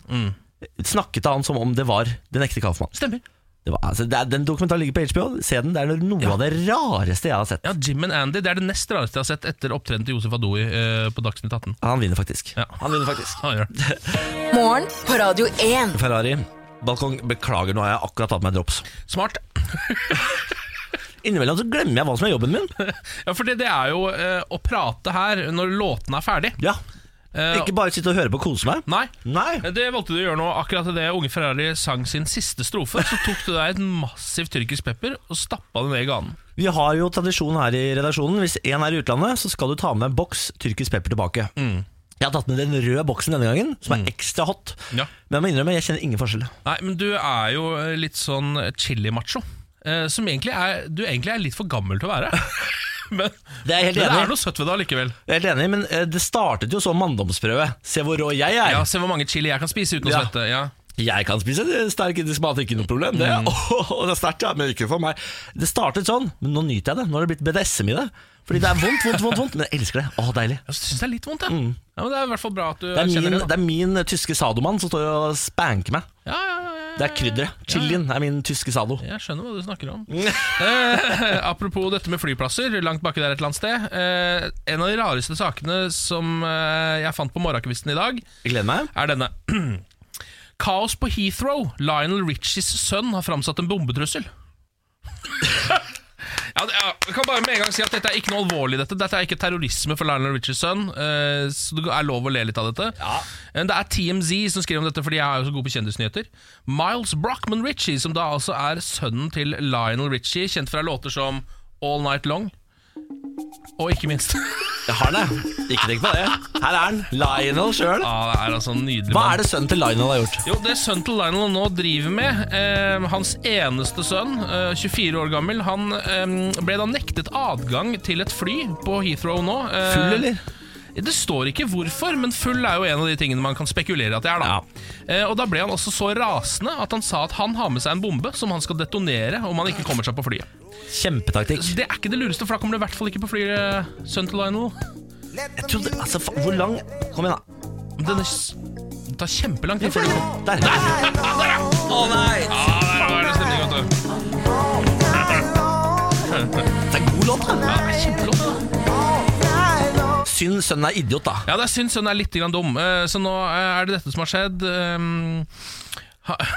Speaker 3: snakket til han som om det var den ekte Kaufmann.
Speaker 4: Stemmer.
Speaker 3: Det var, altså, det er, den dokumentaren ligger på HBO. Se den. Det er noe av det rareste jeg har sett.
Speaker 4: Ja, Jim and Andy det er det nest rareste jeg har sett etter opptredenen til Josef Adoui eh, på Dagsnytt 18.
Speaker 3: Han vinner faktisk.
Speaker 4: Ja.
Speaker 3: Han vinner faktisk.
Speaker 4: Han gjør det.
Speaker 5: Morgen på Radio 1.
Speaker 3: Ferrari, balkong, beklager, nå har jeg akkurat tatt meg drops.
Speaker 4: Smart.
Speaker 3: Innimellom så glemmer jeg hva som er jobben min.
Speaker 4: Ja, for det, det er jo eh, å prate her når låten er ferdig.
Speaker 3: Ja,
Speaker 4: Eh,
Speaker 3: Ikke bare sitte og høre på og kose meg.
Speaker 4: Nei. Eh,
Speaker 3: Nei.
Speaker 4: Det valgte du å gjøre nå. Akkurat idet Unge Ferrari sang sin siste strofe, så tok du deg et massivt tyrkisk pepper og stappa det ned i ganen.
Speaker 3: Vi har jo tradisjon her i redaksjonen. Hvis én er i utlandet, så skal du ta med en boks tyrkisk pepper tilbake.
Speaker 4: Mm.
Speaker 3: Jeg har tatt med den røde boksen denne gangen, som er ekstra hot.
Speaker 4: Ja.
Speaker 3: Men jeg må innrømme, jeg kjenner ingen forskjell.
Speaker 4: Nei, men du er jo eh, litt sånn chili-macho. Eh, som egentlig er Du egentlig er litt for gammel til å være. men,
Speaker 3: Det er jeg helt
Speaker 4: men det
Speaker 3: enig i.
Speaker 4: er noe søtt ved det allikevel.
Speaker 3: Jeg er helt enig, men eh, det startet jo som manndomsprøve. Se hvor rå jeg er.
Speaker 4: Ja, Se hvor mange chili jeg kan spise uten å
Speaker 3: Ja.
Speaker 4: svette. Ja.
Speaker 3: Jeg kan spise sterk indisk mat, ikke noe problem. Det,
Speaker 4: Mm.
Speaker 3: Åh, det er sterkt, ja, men ikke for meg. Det startet sånn, men nå nyter jeg det. Nå har det blitt BDSM i det. Fordi det er vondt, vondt, vondt, vondt men jeg elsker det. Åh, deilig.
Speaker 4: Jeg syns det er litt vondt, jeg. Ja, men det er i hvert fall bra at du
Speaker 3: Mm. Det er,
Speaker 4: kjenner
Speaker 3: min,
Speaker 4: det.
Speaker 3: det
Speaker 4: Da.
Speaker 3: er min eh, tyske sadomann som står og spanker meg.
Speaker 4: Ja, ja, ja, ja, ja.
Speaker 3: Det er krydderet. Chilien er min tyske sado.
Speaker 4: Jeg skjønner hva du snakker om. eh, apropos dette med flyplasser, langt baki der et eller annet sted. Eh, en av de rareste sakene som eh, jeg fant på morgenkvisten i dag,
Speaker 3: Jeg gleder meg.
Speaker 4: er denne. Kaos på Heathrow. Lionel Richies sønn har framsatt en bombetrussel. ja, det- ja, jeg kan bare med en gang si at Dette er ikke noe alvorlig. Dette Dette er ikke terrorisme for Lionel Richies sønn, eh, så det er lov å le litt av dette. Eh, Det er TMZ som skriver om dette, fordi jeg er jo så god på kjendisnyheter. Miles Brochman Richie, som da altså er sønnen til Lionel Richie, kjent fra låter som All Night Long, og ikke minst
Speaker 3: Jeg har den, jeg. Ikke tenk på det. Her er den. Lionel sjøl.
Speaker 4: Ja, det er altså en nydelig
Speaker 3: Hva
Speaker 4: mann.
Speaker 3: er det sønnen til Lionel har gjort?
Speaker 4: Jo, det sønnen til Lionel nå driver med, eh, hans eneste sønn, eh, 24 år gammel, han eh, ble da nektet adgang til et fly på Heathrow nå. Eh,
Speaker 3: Full, eller?
Speaker 4: Det står ikke hvorfor, men full er jo en av de tingene man kan spekulere at det er. da eh, Og da ble han også så rasende at han sa at han har med seg en bombe som han skal detonere om han ikke kommer seg på flyet.
Speaker 3: Kjempetaktikk.
Speaker 4: Det er ikke det lureste, for da kommer du i hvert fall ikke på flyet, eh, sønnen til Lionel.
Speaker 3: Jeg trodde, altså, fa- Hvor lang Kom igjen, da.
Speaker 4: Men den er s- det tar kjempelang tid før du kommer.
Speaker 3: Der. Der. Å nei!
Speaker 4: Ah, der var det stemning, vet du.
Speaker 3: Det er god låt, da.
Speaker 4: Ja, det er kjempelåt, da.
Speaker 3: Synd sønnen er idiot, da.
Speaker 4: Ja, det er synd, sønnen er litt grann dum. Eh, Så nå eh, er det dette som har skjedd. Um,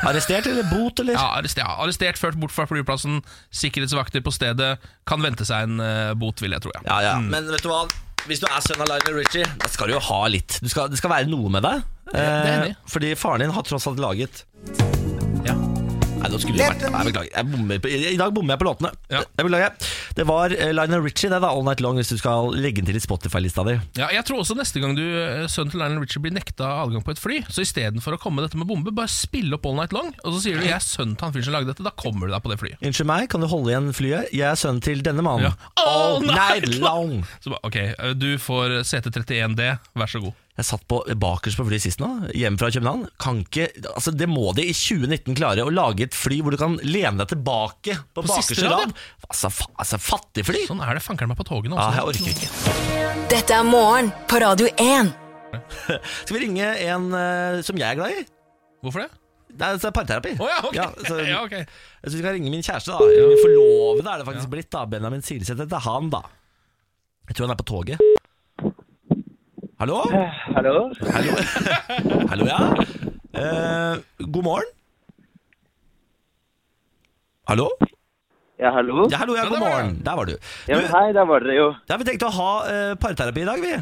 Speaker 3: Arrestert eller bot, eller?
Speaker 4: Ja, arrestert, ja, arrestert, ført bort fra flyplassen. Sikkerhetsvakter på stedet. Kan vente seg en eh, bot, vil jeg tro. Ja.
Speaker 3: Ja, ja. Men vet du hva? Hvis du er sønn av Lionel Richie, da skal du jo ha litt. Du skal, det skal være noe med deg. Eh,
Speaker 4: er enig.
Speaker 3: fordi faren din har tross alt laget
Speaker 4: Ja.
Speaker 3: Nei, nå skulle det vært Nei, beklager. Jeg bommer på, I dag bommer jeg på låtene.
Speaker 4: Ja.
Speaker 3: Jeg beklager. Det var eh, Lionel Richie, det, da. All Night Long, hvis du skal legge den til i Spotify-lista di.
Speaker 4: jeg tror også neste gang du eh, sønnen til Lionel Richie blir nekta adgang på et fly, så istedenfor å komme med dette med bombe, bare spille opp All Night Long, og så sier du 'jeg er sønnen til han fyren som lagde dette'. Da kommer du deg på det flyet.
Speaker 3: Unnskyld meg, kan du holde igjen flyet? Jeg er sønnen til denne mannen.
Speaker 4: Ja. All Night
Speaker 3: long!
Speaker 4: Så bare, ok, eh, du får CT31D, vær så god.
Speaker 3: Jeg satt på bakerst på flyet sist nå, hjemme fra København. Kan ikke, altså det må de i 2019 klare, å lage et fly hvor du kan lene deg tilbake på,
Speaker 4: På siste
Speaker 3: bakerste
Speaker 4: rad,
Speaker 3: rad. Altså, fa altså fattig fly!
Speaker 4: Sånn er det fanker'n meg på togene altså.
Speaker 3: Ja,
Speaker 4: også.
Speaker 3: jeg orker ikke.
Speaker 5: Dette er morgen på Radio 1.
Speaker 3: Skal vi ringe en eh, som jeg er glad i?
Speaker 4: Hvorfor det?
Speaker 3: Det er, det er parterapi.
Speaker 4: Å ja, ok.
Speaker 3: Ja,
Speaker 4: Ja,
Speaker 3: så,
Speaker 4: ok.
Speaker 3: Jeg synes vi skal ringe min kjæreste, da. Eller min forlovede er det faktisk blitt, da. Benjamin Silseth heter han, da. Jeg tror han er på toget. Hallo?
Speaker 8: Eh, Hallo?
Speaker 3: Hallo, Hallo ja. Eh, god morgen. Hallo?
Speaker 8: Ja, hallo?
Speaker 3: Ja, hallo, ja, god morgen. Der var du.
Speaker 8: Ja, men hei, der var dere jo.
Speaker 3: Ja, vi tenkte å ha eh, parterapi i dag, vi.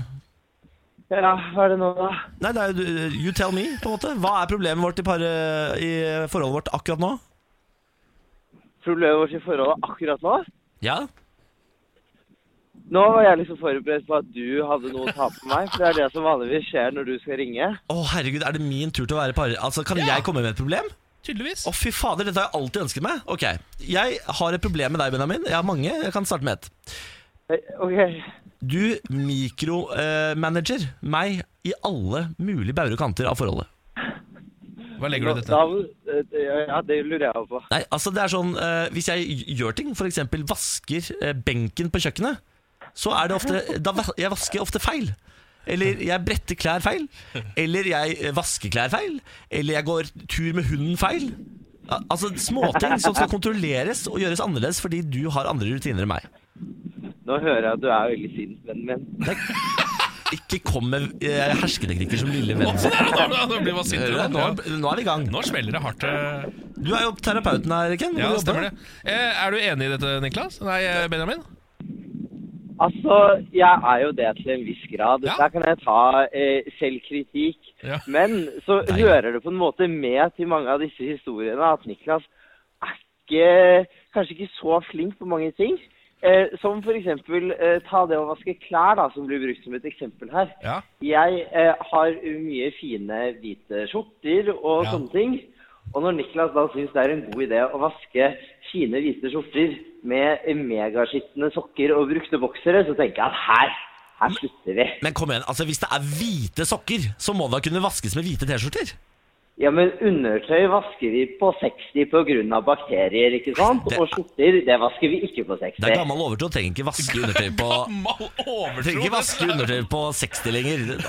Speaker 8: Ja, hva er det nå, da?
Speaker 3: Nei, det er jo du- You tell me, på en måte. Hva er problemet vårt i, par, i forholdet vårt akkurat nå?
Speaker 8: Problemet vårt i forholdet akkurat nå?
Speaker 3: Ja.
Speaker 8: Nå var jeg liksom forberedt på at du hadde noe å ta på meg, for det er det som vanligvis skjer når du skal ringe.
Speaker 3: Å, herregud, er det min tur til å være par... Altså, Kan jeg komme med et problem?
Speaker 4: Tydeligvis.
Speaker 3: Å, fy fader, dette har jeg alltid ønsket meg. Ok, Jeg har et problem med deg, Benjamin. Jeg har mange. Jeg kan starte med et.
Speaker 8: Hei, Ok,
Speaker 3: Du mikromanager meg i alle mulige bauger og kanter av forholdet.
Speaker 4: Hva legger
Speaker 8: da,
Speaker 4: du i dette?
Speaker 8: da, ja, det lurer jeg jo på.
Speaker 3: Nei, altså det er sånn eh, Hvis jeg gj- gjør ting, for eksempel vasker eh, benken på kjøkkenet Så er det ofte da, va- Jeg vasker ofte feil Eller jeg bretter klær feil. Eller jeg eh, vasker klær feil. Eller jeg går tur med hunden feil. Al- Altså Småting som skal kontrolleres og gjøres annerledes fordi du har andre rutiner enn meg.
Speaker 8: Nå hører jeg at du er veldig sint, vennen min.
Speaker 3: Ikke kom med eh, hersketeknikker som lille venn.
Speaker 4: Nå, nå, nå blir man sint.
Speaker 3: Hører du? Nå,
Speaker 4: Nå,
Speaker 3: nå er vi i gang.
Speaker 4: nå smeller det hardt. eh.
Speaker 3: Du er jo terapeuten her, Ken.
Speaker 4: Ja,
Speaker 3: Hvor
Speaker 4: det
Speaker 3: jobber
Speaker 4: stemmer
Speaker 3: du?
Speaker 4: det. Eh, Er du enig i dette, Niklas? Nei, eh, Benjamin?
Speaker 8: Altså, jeg er jo det til en viss grad.
Speaker 4: Ja.
Speaker 8: Der kan jeg ta eh, selvkritikk.
Speaker 4: Ja.
Speaker 8: Men så
Speaker 3: Nei.
Speaker 8: hører det på en måte med til mange av disse historiene at Niklas er ikke, kanskje ikke så flink på mange ting. Eh, som for eksempel, eh, ta det å vaske klær da, som blir brukt som et eksempel her.
Speaker 4: Ja.
Speaker 8: Jeg eh, har mye fine hvite skjorter og
Speaker 4: Ja.
Speaker 8: sånne ting. Og når Niklas da syns det er en god idé å vaske fine hvite skjorter med megaskitne sokker og brukte boksere, så tenker jeg at her, her slutter vi.
Speaker 3: Men kom igjen, altså hvis det er hvite sokker, så må det da kunne vaskes med hvite T-skjorter.
Speaker 8: Ja, men undertøy vasker vi på 60 pga. bakterier, ikke sant?
Speaker 3: Det-
Speaker 8: Og skjorter, det vasker vi ikke på 60.
Speaker 3: Det er gammel overtro. Trenger ikke vaske undertøy på
Speaker 4: Mal
Speaker 3: Trenger ikke vaske undertøy på 60 lenger.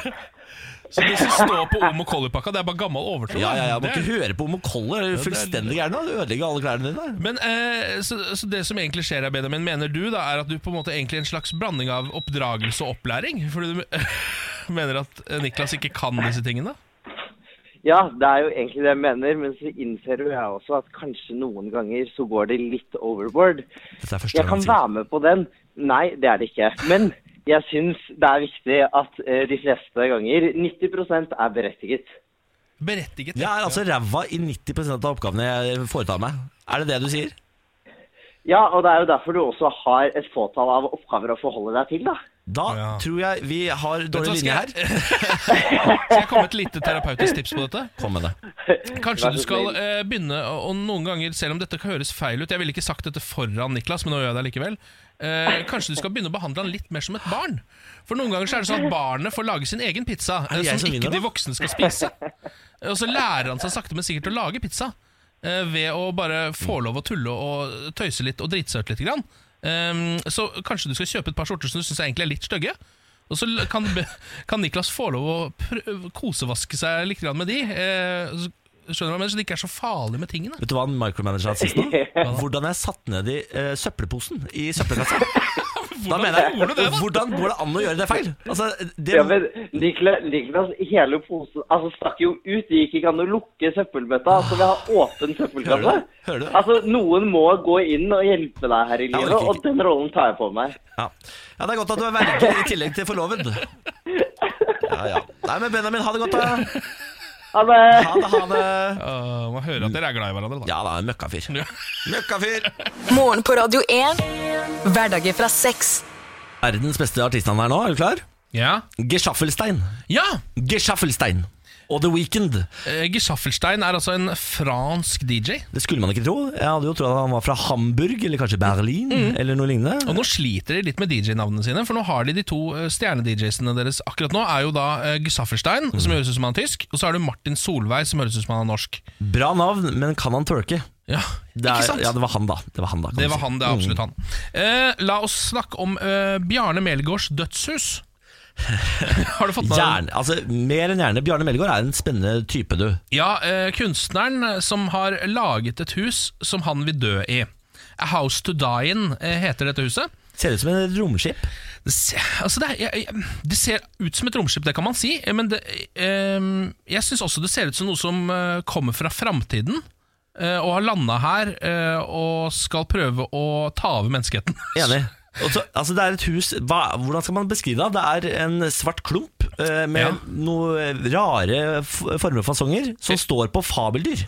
Speaker 4: Så de som står på Om og Collie-pakka, det er bare gammel overtro?
Speaker 3: Ja, ja, ja, Må
Speaker 4: Det
Speaker 3: ikke
Speaker 4: er-
Speaker 3: høre på homokoller. Er du fullstendig gæren? nå? Du ødelegger alle klærne dine.
Speaker 4: Men eh, så, så det som egentlig skjer her, Benjamin, mener du da er at du på en måte egentlig er en slags blanding av oppdragelse og opplæring? Fordi du mener at eh, Niklas ikke kan disse tingene?
Speaker 8: Ja, det er jo egentlig det jeg mener, men så innser jo jeg også at kanskje noen ganger så går det litt overboard.
Speaker 3: Dette er første
Speaker 8: Jeg
Speaker 3: gang
Speaker 8: kan
Speaker 3: jeg sier
Speaker 8: være med på den. Nei, det er det ikke. Men jeg syns det er viktig at eh, de fleste ganger 90 er berettiget.
Speaker 4: Berettiget.
Speaker 3: Jeg er altså ræva i 90 av oppgavene jeg foretar meg. Er det det du sier?
Speaker 8: Ja, og det er jo derfor du også har et fåtall av oppgaver å forholde deg til, da.
Speaker 3: Da
Speaker 4: Ja.
Speaker 3: tror jeg vi har
Speaker 4: Vet du hva,
Speaker 3: dårlig linje
Speaker 4: skal
Speaker 3: her.
Speaker 4: jeg- Skal jeg komme med et lite terapeutisk tips på dette?
Speaker 3: Kom med det.
Speaker 4: Kanskje
Speaker 8: Vær så
Speaker 4: du skal
Speaker 8: snill.
Speaker 4: eh, begynne å og noen ganger, selv om dette kan høres feil ut Jeg ville ikke sagt dette foran Niklas, men nå gjør jeg det likevel. Eh, kanskje du skal begynne å behandle han litt mer som et barn? For noen ganger så er det sånn at barnet får lage sin egen pizza, eh,
Speaker 3: det jeg
Speaker 4: som
Speaker 3: som
Speaker 4: ikke
Speaker 3: vinner, da?
Speaker 4: de voksne skal spise. Eh, Og så lærer han seg sakte, men sikkert å lage pizza eh, ved å bare få lov å tulle og tøyse litt og drite seg ut litt. Grann. Eh, så kanskje du skal kjøpe et par skjorter som du syns egentlig er litt stygge. Og så l- kan, be- kan Niklas få lov å prø- kosevaske seg litt grann med de. eh, så- Skjønner du hva jeg mener? Så det ikke er så farlig med tingene.
Speaker 3: Vet du hva en micromanager hadde sist nå? Hvordan jeg satte ned i eh, søppelposen i søppelkassa. Da mener
Speaker 4: gjorde du det,
Speaker 3: jeg,
Speaker 4: da?
Speaker 3: Hvordan går det an å gjøre det feil? Altså, det,
Speaker 8: Ja, men Niklas, Niklas hele posen altså, stakk jo ut. Det gikk ikke an å lukke søppelbøtta. Altså, vi har åpen søppelkasse.
Speaker 3: Hører du? Hører du?
Speaker 8: Altså, noen må gå inn og hjelpe deg her i
Speaker 3: orker
Speaker 8: livet, og
Speaker 3: ikke.
Speaker 8: den rollen tar jeg på meg.
Speaker 3: Ja. ja, det er godt at du er verge i tillegg til forloved. Ja, ja. Nei, men Benjamin, ha det godt, da.
Speaker 8: Ha det!
Speaker 3: Ha det, ha det.
Speaker 4: Ah, man hører at dere er glad i hverandre, da.
Speaker 3: Ja da, en møkkafyr. Møkkafyr!
Speaker 5: Morgen på Radio 1. Hverdager fra seks.
Speaker 3: Verdens beste artistnavn her nå, er du klar?
Speaker 4: Ja!
Speaker 3: Geschaffelstein.
Speaker 4: ja.
Speaker 3: Geschaffelstein. Og The Weeknd.
Speaker 4: Eh, Gesaffelstein er altså en fransk DJ.
Speaker 3: Det skulle man ikke tro. Jeg hadde jo trodd at han var fra Hamburg, eller kanskje Berlin,
Speaker 4: Mm.
Speaker 3: eller noe lignende.
Speaker 4: Og nå sliter de litt med DJ-navnene sine, for nå har de de to eh, stjerne-DJ-ene deres akkurat nå, er jo da eh, Gesaffelstein,
Speaker 3: Mm.
Speaker 4: som høres ut som han er tysk, og så er det Martin Solveig, som høres ut som han er norsk.
Speaker 3: Bra navn, men kan han twerke?
Speaker 4: Ja,
Speaker 3: Det er-
Speaker 4: ikke sant?
Speaker 3: Ja, det var Mm. han, da. Det var han, da, kan
Speaker 4: Det
Speaker 3: man
Speaker 4: var
Speaker 3: si.
Speaker 4: han, det er absolutt han. Eh, la oss snakke om eh, Bjarne Melgaards dødshus. Har du fått med deg-
Speaker 3: Gjerne, altså, mer enn gjerne. Bjarne Melgaard er en spennende type, du.
Speaker 4: Ja, eh, kunstneren som har laget et hus som han vil dø i. A House to Die In eh, heter dette huset.
Speaker 3: Ser ut som et romskip.
Speaker 4: Det ser, altså det, er, jeg, jeg, det ser ut som et romskip, det kan man si, eh, men det, eh, jeg syns også det ser ut som noe som eh, kommer fra framtiden. eh, Og har landa her eh, og skal prøve å ta over menneskeheten.
Speaker 3: Enig. Og så, altså det er et hus hva, Hvordan skal man beskrive det? Det er en svart klump eh, med
Speaker 4: Ja.
Speaker 3: noen rare f former og fasonger
Speaker 4: Eh.
Speaker 3: som står på fabeldyr.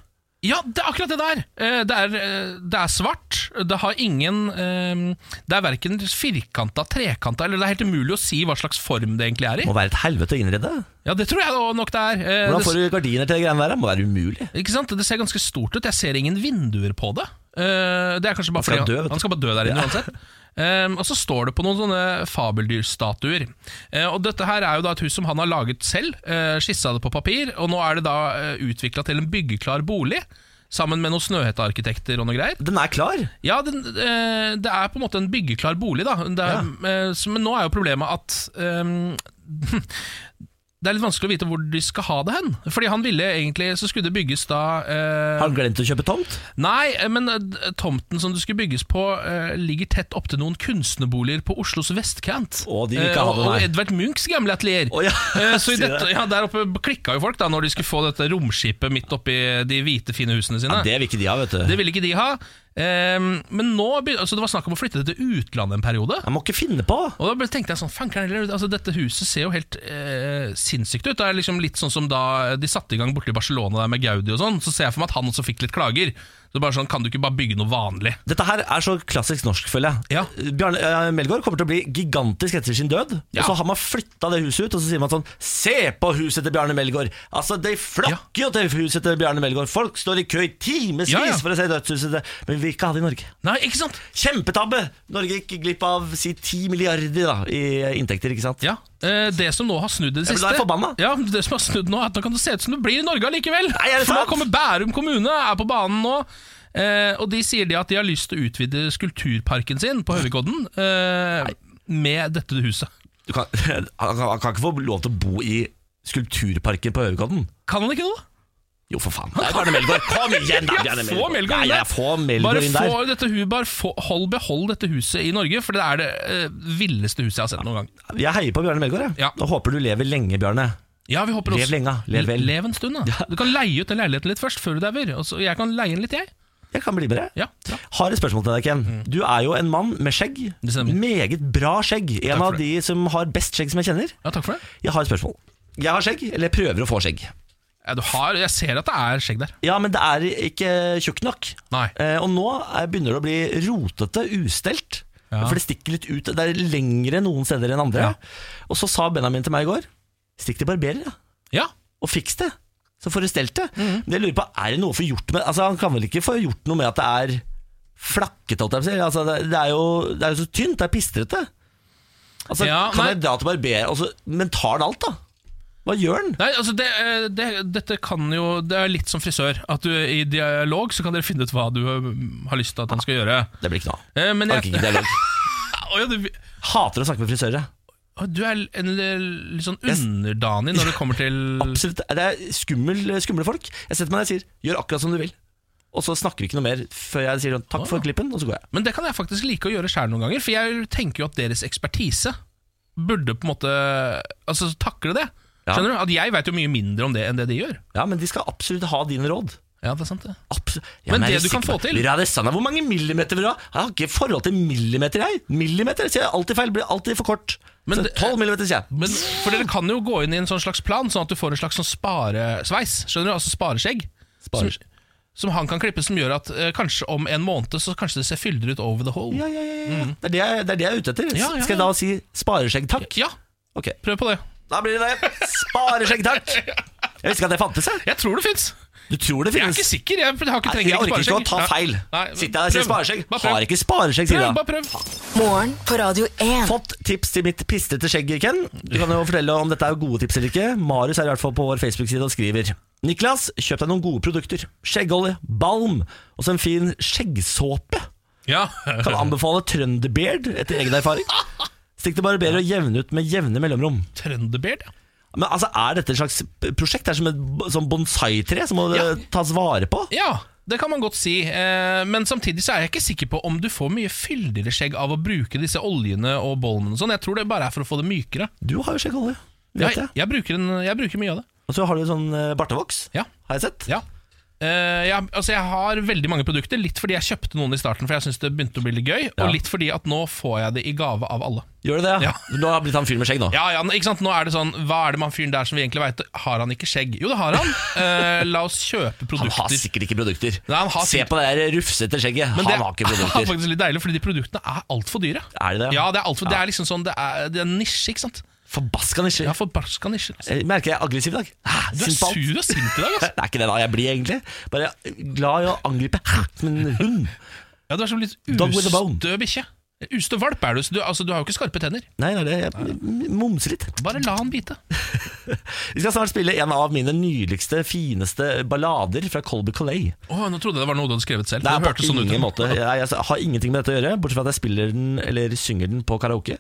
Speaker 4: Ja, det er akkurat det der! Det er, eh, det er svart, det har ingen eh, Det er verken firkanta, trekanta, eller det er helt umulig å si hva slags form det egentlig er i.
Speaker 3: Må være et helvete å innrede.
Speaker 4: Ja, det tror jeg da nok det er. Eh,
Speaker 3: Hvordan
Speaker 4: det,
Speaker 3: får du gardiner til det greiene der? Må være umulig.
Speaker 4: ikke sant? det ser ganske stort ut. Jeg ser ingen vinduer på det. Eh, det er kanskje bare
Speaker 3: skal
Speaker 4: fordi
Speaker 3: dø, vet
Speaker 4: han,
Speaker 3: du.
Speaker 4: han skal bare dø der inne uansett. Eh, og så står det på noen sånne fabeldyrstatuer. Eh, og dette her er jo da et hus som han har laget selv. Uh, skissa det på papir, og nå er det da uh, utvikla til en byggeklar bolig. Sammen med noen Snøhette-arkitekter og noe greier.
Speaker 3: Den er klar.
Speaker 4: Ja, den, eh, det er på en måte en byggeklar bolig, da. Det er, eh, så- men nå er jo problemet at eh, det er litt vanskelig å vite hvor de skal ha det hen. Fordi han ville egentlig, så skulle det bygges da eh,
Speaker 3: Har han glemt å kjøpe tomt?
Speaker 4: Nei, men eh, tomten som det skulle bygges på, eh, ligger tett opptil noen kunstnerboliger på Oslos vestkant.
Speaker 3: Å, de vil ikke ha
Speaker 4: Eh,
Speaker 3: det,
Speaker 4: og,
Speaker 3: nei.
Speaker 4: og Edvard Munchs gamle atelier.
Speaker 3: Å, ja.
Speaker 4: Eh, så i
Speaker 3: Sier
Speaker 4: dette,
Speaker 3: det.
Speaker 4: ja, Der oppe klikka jo folk da når de skulle få dette romskipet midt oppi de hvite, fine husene sine.
Speaker 3: Ja, det vil ikke de ha, vet du.
Speaker 4: Det ville ikke de ha. Eh, men nå begy- altså, Det var snakk om å flytte det til utlandet en periode.
Speaker 3: Han må ikke finne på!
Speaker 4: Og da ble- tenkte jeg sånn, fanker, altså, Dette huset ser jo helt eh, sinnssykt ut. Det er liksom litt sånn som da de satte i gang borte i Barcelona der med Gaudi og sånn. Så ser jeg for meg at han også fikk litt klager. Så bare sånn, Kan du ikke bare bygge noe vanlig?
Speaker 3: Dette her er så klassisk norsk, føler jeg.
Speaker 4: Ja.
Speaker 3: Bjarne eh, Melgaard kommer til å bli gigantisk etter sin død.
Speaker 4: Ja.
Speaker 3: Og så har man flytta det huset ut, og så sier man sånn Se på huset til Bjarne Melgaard! Altså, de flokker jo til huset til Bjarne Melgaard! Folk står i kø i timevis
Speaker 4: Ja, ja.
Speaker 3: for å se dødshuset til Men vi vil ikke ha det i Norge.
Speaker 4: Nei, ikke sant?
Speaker 3: Kjempetabbe! Norge gikk glipp av si 10 milliarder da, i inntekter, ikke sant?
Speaker 4: Ja, eh, Det som nå har snudd i
Speaker 3: Ja,
Speaker 4: det
Speaker 3: men
Speaker 4: siste
Speaker 3: da er jeg forbanna.
Speaker 4: Ja, det som har snudd nå er at Nå kan det se ut som det blir i Norge allikevel!
Speaker 3: Nei, er det
Speaker 4: For nå
Speaker 3: sant?
Speaker 4: kommer Bærum kommune, er på banen nå. Eh, og de sier de at de har lyst til å utvide skulpturparken sin på Høvikodden eh, med dette huset.
Speaker 3: Du kan, han, kan, han kan ikke få lov til å bo i skulpturparken på Øverkodden.
Speaker 4: Kan han ikke noe?
Speaker 3: Jo, for faen. Det er Bjarne Melgaard. Kom igjen, da!
Speaker 4: Ja,
Speaker 3: Bjarne
Speaker 4: få Melgaard inn
Speaker 3: Nei,
Speaker 4: der.
Speaker 3: ja, få
Speaker 4: Bare,
Speaker 3: Melgaard inn der.
Speaker 4: få dette, hu- bare få, hold, behold dette huset i Norge, for det er det eh, villeste huset jeg har sett noen gang.
Speaker 3: Jeg heier på Bjarne Melgaard. jeg.
Speaker 4: Ja.
Speaker 3: Og håper du lever lenge, Bjarne.
Speaker 4: Ja, vi håper
Speaker 3: Lev
Speaker 4: også-
Speaker 3: lenga, lev vel.
Speaker 4: Lev en stund, da. Du kan leie ut den leiligheten litt først, før du dauer. og så- Jeg kan leie den litt, jeg.
Speaker 3: Jeg kan bli med deg.
Speaker 4: Ja, bra.
Speaker 3: Har et spørsmål til deg, Ken. Du er jo en mann med skjegg.
Speaker 4: Det stemmer.
Speaker 3: Meget bra skjegg. En
Speaker 4: for
Speaker 3: av
Speaker 4: det.
Speaker 3: de som har best skjegg som jeg kjenner.
Speaker 4: Ja, takk for det.
Speaker 3: Jeg har et spørsmål. Jeg har skjegg, eller jeg prøver å få skjegg.
Speaker 4: Ja, du har, jeg ser at det er skjegg der.
Speaker 3: Ja, men det er ikke tjukt nok.
Speaker 4: Nei.
Speaker 3: Eh, og nå er- begynner det å bli rotete, ustelt.
Speaker 4: Ja.
Speaker 3: For det stikker litt ut. Det er lengre noen steder enn andre.
Speaker 4: Ja.
Speaker 3: Og så sa Benjamin til meg i går Stikk til barberer, da.
Speaker 4: Ja,
Speaker 3: og fiks det. Så får du stelt det.
Speaker 4: Mhm.
Speaker 3: Men jeg lurer på, er det noe å få gjort med Altså Han kan vel ikke få gjort noe med at det er flakket? holdt jeg på å si? Altså, det, det, er jo, det er jo så tynt, det er pistrete. Altså,
Speaker 4: Ja,
Speaker 3: kan
Speaker 4: nei.
Speaker 3: jeg dra til barber og så Men tar han alt, da? Hva gjør han?
Speaker 4: Nei, altså det, eh, det, dette kan jo Det er litt som frisør. At du I dialog så kan dere finne ut hva du eh, har lyst til at han skal gjøre.
Speaker 3: Det blir ikke noe av.
Speaker 4: Eh, Men
Speaker 3: Orker ikke
Speaker 4: jeg
Speaker 3: dialog.
Speaker 4: Å, ja, du,
Speaker 3: Hater å snakke med frisører.
Speaker 4: å, du er en l- litt sånn underdanig når det kommer til
Speaker 3: Absolutt. Det er skummel, skumle folk. Jeg setter meg ned og sier 'gjør akkurat som du vil', og så snakker vi ikke noe mer før jeg sier sånn, 'takk for klippen', og så går jeg.
Speaker 4: Men det kan jeg faktisk like å gjøre sjøl noen ganger, for jeg tenker jo at deres ekspertise burde på en måte Altså takle det.
Speaker 3: Ja.
Speaker 4: Skjønner du? At jeg veit jo mye mindre om det enn det de gjør.
Speaker 3: Ja, Men de skal absolutt ha dine råd.
Speaker 4: Ja, det er sant det
Speaker 3: Abs- Ja,
Speaker 4: Men
Speaker 3: jeg
Speaker 4: det
Speaker 3: er
Speaker 4: du kan
Speaker 3: sikker på-
Speaker 4: få til-
Speaker 3: Vil du ha det sanne? Hvor mange millimeter vil du ha? Jeg har ikke forhold til millimeter, jeg. Millimeter sier jeg alltid feil. Blir alltid for kort.
Speaker 4: Men
Speaker 3: Så
Speaker 4: det-
Speaker 3: 12 millimeter, sier jeg.
Speaker 4: Men, for dere kan jo gå inn i en sånn slags plan, sånn at du får en slags sånn sparesveis. Skjønner du? Altså spareskjegg.
Speaker 3: Spares-
Speaker 4: Som, som han kan klippe, som gjør at eh, kanskje om en måned så kanskje det ser fyldigere ut over the hole.
Speaker 3: Ja, ja, ja, ja. ja. Det, er det, jeg, det er det jeg er ute etter. S-
Speaker 4: Mm. Ja, ja, ja.
Speaker 3: Skal jeg da si spareskjegg takk?
Speaker 4: Ja,
Speaker 3: Ok,
Speaker 4: prøv på det.
Speaker 3: Da blir det det. Spareskjegg takk. Jeg visste ikke at det fantes. Jeg.
Speaker 4: Jeg tror det fins.
Speaker 3: Du tror det
Speaker 4: Jeg er
Speaker 3: finnes.
Speaker 4: ikke sikker. Jeg, har ikke
Speaker 3: Nei,
Speaker 4: trenger
Speaker 3: jeg orker ikke å
Speaker 4: spareskjegg.
Speaker 3: ta
Speaker 4: Nei.
Speaker 3: feil.
Speaker 4: Nei, men
Speaker 3: Sitter jeg og sier
Speaker 4: prøv.
Speaker 3: spareskjegg?
Speaker 4: Bare prøv.
Speaker 3: Har ikke spareskjegg, sier
Speaker 4: Prøv,
Speaker 3: jeg da.
Speaker 4: bare prøv.
Speaker 5: Morgen på Radio 1.
Speaker 3: Fått tips til mitt pistete skjegg, Ken. Du kan jo fortelle om dette er gode tips eller ikke. Marius er i hvert fall på vår Facebook-side og skriver Niklas, kjøp deg noen gode produkter. Skjeggolje, balm og så en fin skjeggsåpe.
Speaker 4: Ja. eh,
Speaker 3: Kan anbefale Trønderbeard etter egen erfaring. Stikk til barberer og jevne ut med jevne mellomrom.
Speaker 4: Trønderbeard, ja.
Speaker 3: Men altså, Er dette et slags prosjekt? Det er som et bo- sånn bonsai-tre som må
Speaker 4: Ja.
Speaker 3: eh, tas vare på?
Speaker 4: ja. Det kan man godt si, eh, men samtidig så er jeg ikke sikker på om du får mye fyldigere skjegg av å bruke disse oljene og bolmene og sånn. Jeg tror det bare er for å få det mykere.
Speaker 3: Du har jo skjeggolje, vet
Speaker 4: Jeg,
Speaker 3: jeg.
Speaker 4: jeg, bruker, en, jeg bruker mye av det.
Speaker 3: Og så har du sånn eh, bartevoks,
Speaker 4: Ja.
Speaker 3: har jeg sett.
Speaker 4: Ja. Eh, jeg, altså jeg har veldig mange produkter, litt fordi jeg kjøpte noen i starten, for jeg syntes det begynte å bli litt gøy,
Speaker 3: Ja.
Speaker 4: og litt fordi at nå får jeg det i gave av alle.
Speaker 3: Gjør du det?
Speaker 4: Ja.
Speaker 3: Nå har jeg blitt han fyren med skjegg nå.
Speaker 4: Ja, ja, ikke sant? Nå er det sånn, Hva er det man fyren der som vi egentlig veit Har han ikke skjegg? Jo, det har han. Eh, la oss kjøpe
Speaker 3: Han
Speaker 4: produkter.
Speaker 3: har sikkert ikke produkter.
Speaker 4: Nei, han har
Speaker 3: Se
Speaker 4: sikkert-
Speaker 3: på det der rufsete skjegget.
Speaker 4: Men
Speaker 3: Han
Speaker 4: det
Speaker 3: har ikke
Speaker 4: er
Speaker 3: produkter.
Speaker 4: faktisk litt deilig, fordi de produktene er altfor dyre.
Speaker 3: Er det det?
Speaker 4: Ja, det er, alt for, det er liksom sånn, det er, det er en nisje, ikke sant?
Speaker 3: Forbaska nisjer.
Speaker 4: Ja, Forbaska nisje. Altså.
Speaker 3: Jeg Eh, merker jeg er aggressiv i dag. Ah,
Speaker 4: Du er
Speaker 3: sint på alt.
Speaker 4: sur og sint i dag.
Speaker 3: Det
Speaker 4: Altså.
Speaker 3: er ikke det da jeg blir, egentlig. Bare glad i å angripe som en hund.
Speaker 4: Ja, Du er som litt
Speaker 3: Dog with a bone.
Speaker 4: ustø bikkje. Ustø valp er du, så du, altså, du har jo ikke skarpe tenner.
Speaker 3: Nei, nei, det, jeg mumser litt.
Speaker 4: Bare la han bite.
Speaker 3: Vi skal snart spille en av mine nydeligste, fineste ballader fra Colby Colley.
Speaker 4: Åh, nå trodde jeg det var noe du hadde skrevet selv. for
Speaker 3: Nei,
Speaker 4: det
Speaker 3: på
Speaker 4: hørtes sånn ut.
Speaker 3: ingen måte. Jeg, jeg har ingenting med dette å gjøre, bortsett fra at jeg spiller den eller synger den på karaoke.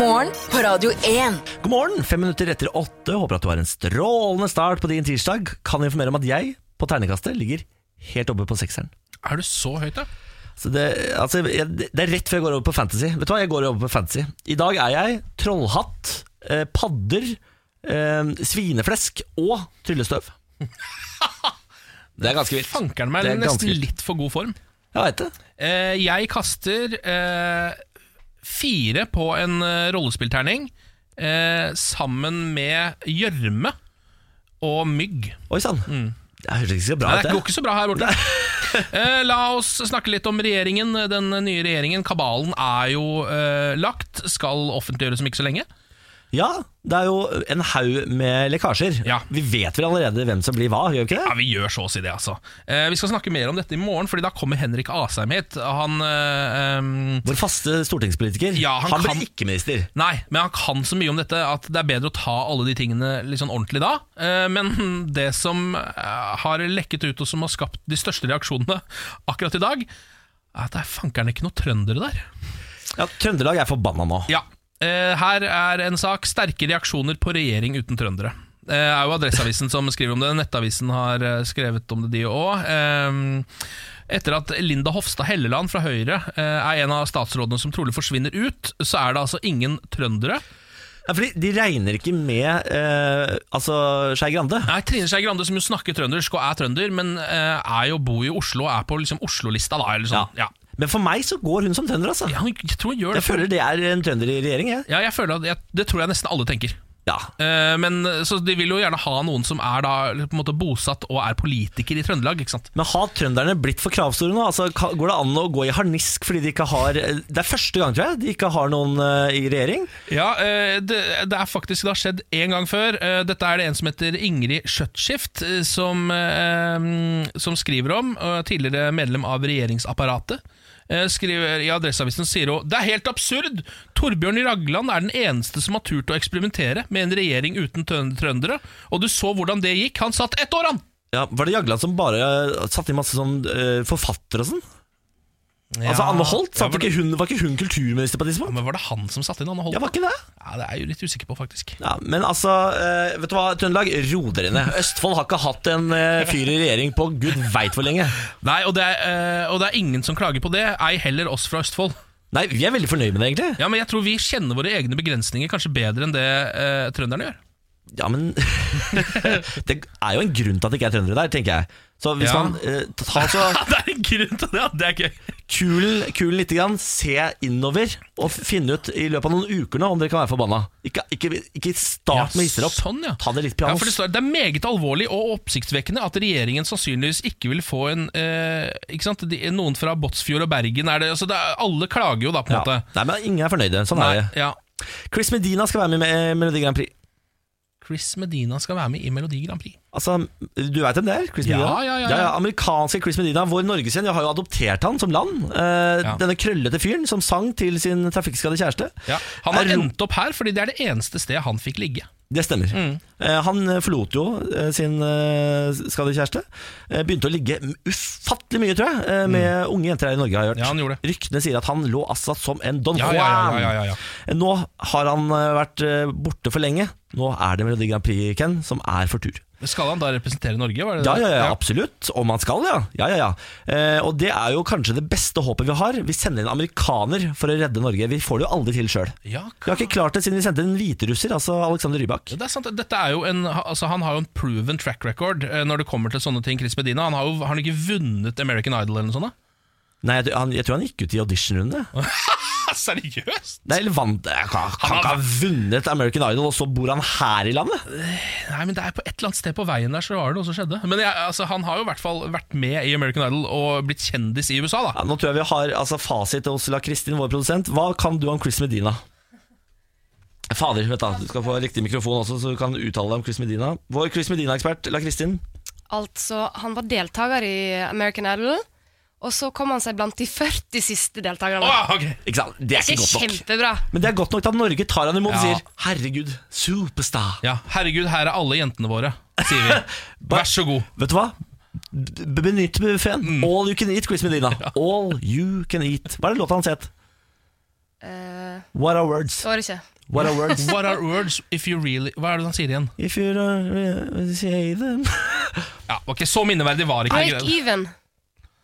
Speaker 5: Morgen på Radio 1.
Speaker 3: God morgen, fem minutter etter åtte. Håper at du har en strålende start på din tirsdag. Kan informere om at jeg på ternekastet ligger helt oppe på sekseren.
Speaker 4: Er du så høyt, da?
Speaker 3: Så det, altså, jeg, det er rett før jeg går over på fantasy. Vet du hva, jeg går over på fantasy. I dag er jeg trollhatt, eh, padder, eh, svineflesk og tryllestøv. Det er ganske vilt.
Speaker 4: Fankeren meg
Speaker 3: Det er ganske
Speaker 4: nesten
Speaker 3: vilt.
Speaker 4: litt for god form.
Speaker 3: Jeg veit det.
Speaker 4: Eh, jeg kaster eh, fire på en eh, rollespillterning eh, sammen med gjørme og mygg.
Speaker 3: Oi sann. Det høres ikke så bra ut,
Speaker 4: Mm. Nei, det går
Speaker 3: det.
Speaker 4: ikke så bra her borte. Eh, la oss snakke litt om regjeringen. Den nye regjeringen, kabalen, er jo eh, lagt. Skal offentliggjøres om ikke så lenge.
Speaker 3: Ja, det er jo en haug med lekkasjer.
Speaker 4: Ja.
Speaker 3: Vi vet vel allerede hvem som blir hva, gjør vi ikke
Speaker 4: Ja,
Speaker 3: det?
Speaker 4: Vi gjør så å si det, altså. Eh, vi skal snakke mer om dette i morgen, Fordi da kommer Henrik Asheim hit. Han eh, em,
Speaker 3: Vår faste stortingspolitiker.
Speaker 4: Ja, han
Speaker 3: han
Speaker 4: kan-
Speaker 3: blir ikke minister.
Speaker 4: Nei, men han kan så mye om dette at det er bedre å ta alle de tingene litt sånn ordentlig da. Eh, Men det som eh, har lekket ut og som har skapt de største reaksjonene akkurat i dag, er at det er fankeren ikke noe trøndere der.
Speaker 3: Ja, Trøndelag er forbanna nå.
Speaker 4: Ja, eh, her er en sak Sterke reaksjoner på regjering uten trøndere Det er jo Adresseavisen som skriver om det Nettavisen har eh, skrevet om det de også eh, Etter at Linda Hofstad Helleland fra Høyre eh, Er en av statsrådene som trolig forsvinner ut Så er det altså ingen trøndere
Speaker 3: Ja, fordi De regner ikke med eh, altså Skei Grande.
Speaker 4: Nei, Trine Skei Grande som jo snakker trøndersk og er trønder Men eh, er jo bor i Oslo og Er på liksom Oslo-lista da eller sånn. ja.
Speaker 3: Men for meg så går hun som trønder, altså.
Speaker 4: Ja, jeg tror hun gjør det
Speaker 3: Jeg føler det er en trønder i regjering, jeg.
Speaker 4: ja, jeg føler at jeg, det tror jeg nesten alle tenker
Speaker 3: Ja.
Speaker 4: Eh, Men så De vil jo gjerne ha noen som er da på en måte bosatt og er politiker i Trøndelag. ikke sant?
Speaker 3: Men har trønderne blitt for kravstore nå? Altså, ka- går det an å gå i harnisk fordi de ikke har eh, Det er første gang, tror jeg, de ikke har noen eh, i regjering.
Speaker 4: Ja, eh, det, det er faktisk det har skjedd én gang før. Eh, Dette er det en som heter Ingrid Skjøtskift, eh, som, eh, som skriver om. og er Tidligere medlem av regjeringsapparatet. Eh, Skriver, I Adresseavisen sier hun Det er helt absurd! Torbjørn Ragland er den eneste som har turt å eksperimentere med en regjering uten trøn- trøndere. Og du så hvordan det gikk. Han satt ett år, han!
Speaker 3: Ja, Var det Jagland som bare eh, satte inn masse sånn eh, forfattere og sånn? Altså Anne Holt?
Speaker 4: Ja,
Speaker 3: Satt
Speaker 4: var, det,
Speaker 3: ikke hun, var ikke hun kulturminister på det tidspunkt?
Speaker 4: men var det han som satte inn Anne Holt?
Speaker 3: Ja, var ikke det?
Speaker 4: Ja, det er jeg jo litt usikker på, faktisk.
Speaker 3: Ja, men altså, eh, vet du hva, Trøndelag, ro dere ned. Østfold har ikke hatt en eh, fyr i regjering på gud veit hvor lenge.
Speaker 4: Nei, og det, er, eh, og det er ingen som klager på det, ei heller oss fra Østfold.
Speaker 3: Nei, vi er veldig fornøyd med det, egentlig.
Speaker 4: Ja, men jeg tror vi kjenner våre egne begrensninger kanskje bedre enn det eh, trønderne gjør.
Speaker 3: Ja, men Det er jo en grunn til at det ikke er trøndere der, tenker jeg. Så hvis
Speaker 4: Ja.
Speaker 3: man eh, tar så
Speaker 4: det er en grunn til det, det er gøy.
Speaker 3: kulen, kulen litt, grann, se innover, og finne ut i løpet av noen uker nå om dere kan være forbanna. Ikke, ikke, ikke start med å hisse deg opp.
Speaker 4: sånn, ja.
Speaker 3: Ta det litt
Speaker 4: Ja,
Speaker 3: piano.
Speaker 4: for det, står, det er meget alvorlig og oppsiktsvekkende at regjeringen sannsynligvis ikke vil få en eh, ikke sant? De, Noen fra Båtsfjord og Bergen er det, altså det er, Alle klager jo da, på en
Speaker 3: Ja.
Speaker 4: måte.
Speaker 3: Nei, men Ingen er fornøyde. Sånn
Speaker 4: Nei,
Speaker 3: er det.
Speaker 4: ja.
Speaker 3: Chris Medina skal være med i Melodi Grand Prix.
Speaker 4: Chris Medina skal være med i Melodi Grand Prix.
Speaker 3: Altså, Du veit hvem det er? Chris
Speaker 4: Ja,
Speaker 3: Medina?
Speaker 4: ja, ja, ja.
Speaker 3: Amerikanske Chris Medina. Vår norgesvenn. Vi har jo adoptert han som land. Eh,
Speaker 4: Ja.
Speaker 3: Denne krøllete fyren som sang til sin trafikkskadde kjæreste.
Speaker 4: Ja. Han har
Speaker 3: Er ro-
Speaker 4: endt opp her fordi det er det eneste stedet han fikk ligge.
Speaker 3: Det stemmer.
Speaker 4: Mm.
Speaker 3: Eh, han forlot jo eh, sin eh, skadede kjæreste. Eh, begynte å ligge ufattelig mye, tror jeg, eh, med unge jenter her i Norge, har jeg hørt.
Speaker 4: Mm. Ja, han gjorde det.
Speaker 3: Ryktene sier at han lå altså som en Don
Speaker 4: Ja,
Speaker 3: Juan.
Speaker 4: ja, ja, ja, ja, ja.
Speaker 3: Eh, Nå har han eh, vært eh, borte for lenge. Nå er det Melodi Grand Prix, Ken, som er for tur.
Speaker 4: Skal han da representere Norge? Var det
Speaker 3: Ja,
Speaker 4: det?
Speaker 3: ja, ja, absolutt. Om han skal, ja. ja, ja, ja. Eh, og det er jo kanskje det beste håpet vi har. Vi sender en amerikaner for å redde Norge. Vi får det jo aldri til sjøl.
Speaker 4: Ja,
Speaker 3: Vi har ikke klart det siden vi sendte en hviterusser, altså Alexander Rybak.
Speaker 4: Ja, Det er sant. Dette er jo en, altså, han har jo en proven track record eh, når det kommer til sånne ting. Chris Medina, han har jo har han ikke vunnet American Idol eller noe sånt? da?
Speaker 3: Nei, jeg, tror- han, jeg tror han gikk ut i auditionrunde.
Speaker 4: Ah, Seriøst?
Speaker 3: Nei, eller vant Jeg kan, kan ikke ha vunnet American Idol, og så bor han her i landet?
Speaker 4: Nei, men det er på et eller annet sted på veien der så var det noe som skjedde. Men jeg, altså, han har jo i hvert fall vært med i American Idol og blitt kjendis i USA, da.
Speaker 3: Ja, nå tror jeg vi har altså, fasit hos La Kristin, vår produsent. Hva kan du om Chris Medina? Fader, vet du, du skal få riktig mikrofon også, så du kan uttale deg om Chris Medina. Vår Chris Medina-ekspert, La Kristin.
Speaker 9: Altså, han var deltaker i American Idol, og så kom han seg blant de 40 siste deltakerne.
Speaker 4: Åh, ok.
Speaker 3: Ikke sant? Det er
Speaker 9: det
Speaker 3: ikke
Speaker 9: er
Speaker 3: godt nok.
Speaker 9: kjempebra.
Speaker 3: Men det er godt nok at Norge tar han imot og
Speaker 4: Ja.
Speaker 3: sier 'herregud, superstar'.
Speaker 4: Ja, herregud, her er alle jentene våre, sier vi. Vær så god.
Speaker 3: Vet du hva? B- Benytt
Speaker 4: Mm.
Speaker 3: buffeen. All you can eat, Chris Medina. All you can eat. Hva er det låta hans het?
Speaker 9: eh,
Speaker 3: What are words?
Speaker 9: det var det ikke.
Speaker 3: What are words?
Speaker 4: What are words if you really Hva er det han sier igjen?
Speaker 3: If you don't uh, say them
Speaker 4: Ja, ok, Så minneverdig var ikke
Speaker 9: Break
Speaker 4: greia.
Speaker 9: even.